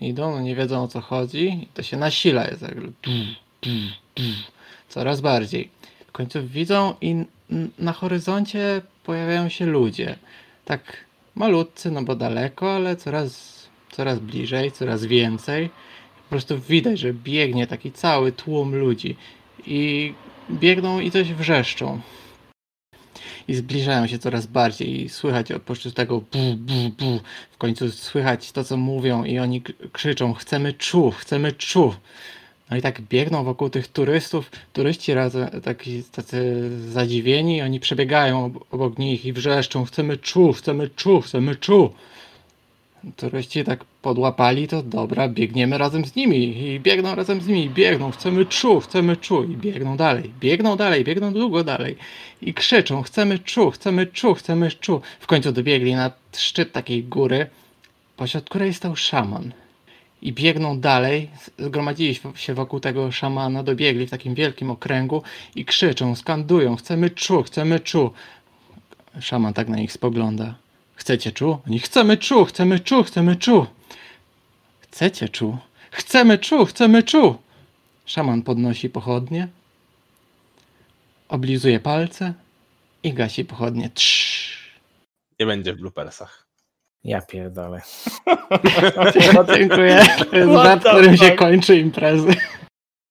idą, no nie wiedzą o co chodzi, i to się nasila jest tak, tup, tup, tup, coraz bardziej. W końcu widzą i n- na horyzoncie pojawiają się ludzie. Tak malutcy, no bo daleko, ale coraz, coraz bliżej, coraz więcej. Po prostu widać, że biegnie taki cały tłum ludzi. I biegną i coś wrzeszczą. I zbliżają się coraz bardziej i słychać oprócz tego bu, bu, bu. W końcu słychać to, co mówią i oni k- krzyczą chcemy czu, chcemy czu. No i tak biegną wokół tych turystów, turyści razem, taki, tacy zadziwieni, oni przebiegają ob- obok nich i wrzeszczą, chcemy czu, chcemy czu, chcemy czu. Turyści tak podłapali, to dobra, biegniemy razem z nimi i biegną razem z nimi, biegną, chcemy czu, chcemy czu i biegną dalej, biegną dalej, biegną długo dalej i krzyczą, chcemy czu, chcemy czu, chcemy czu. W końcu dobiegli na szczyt takiej góry, pośród której stał szaman i biegną dalej. Zgromadzili się- się wokół tego szamana, dobiegli w takim wielkim okręgu i krzyczą, skandują: Chcemy czu, chcemy czu. Szaman tak na nich spogląda. Chcecie czu? Oni chcemy czu, chcemy czu, chcemy czu. Chcecie czu? Chcemy czu, chcemy czu. Szaman podnosi pochodnie, oblizuje palce i gasi pochodnie. *laughs* Trz. Nie będzie w bloopersach. Ja pierdolę. Dziękuję. To jest What żart, the którym się fuck? kończy imprezy.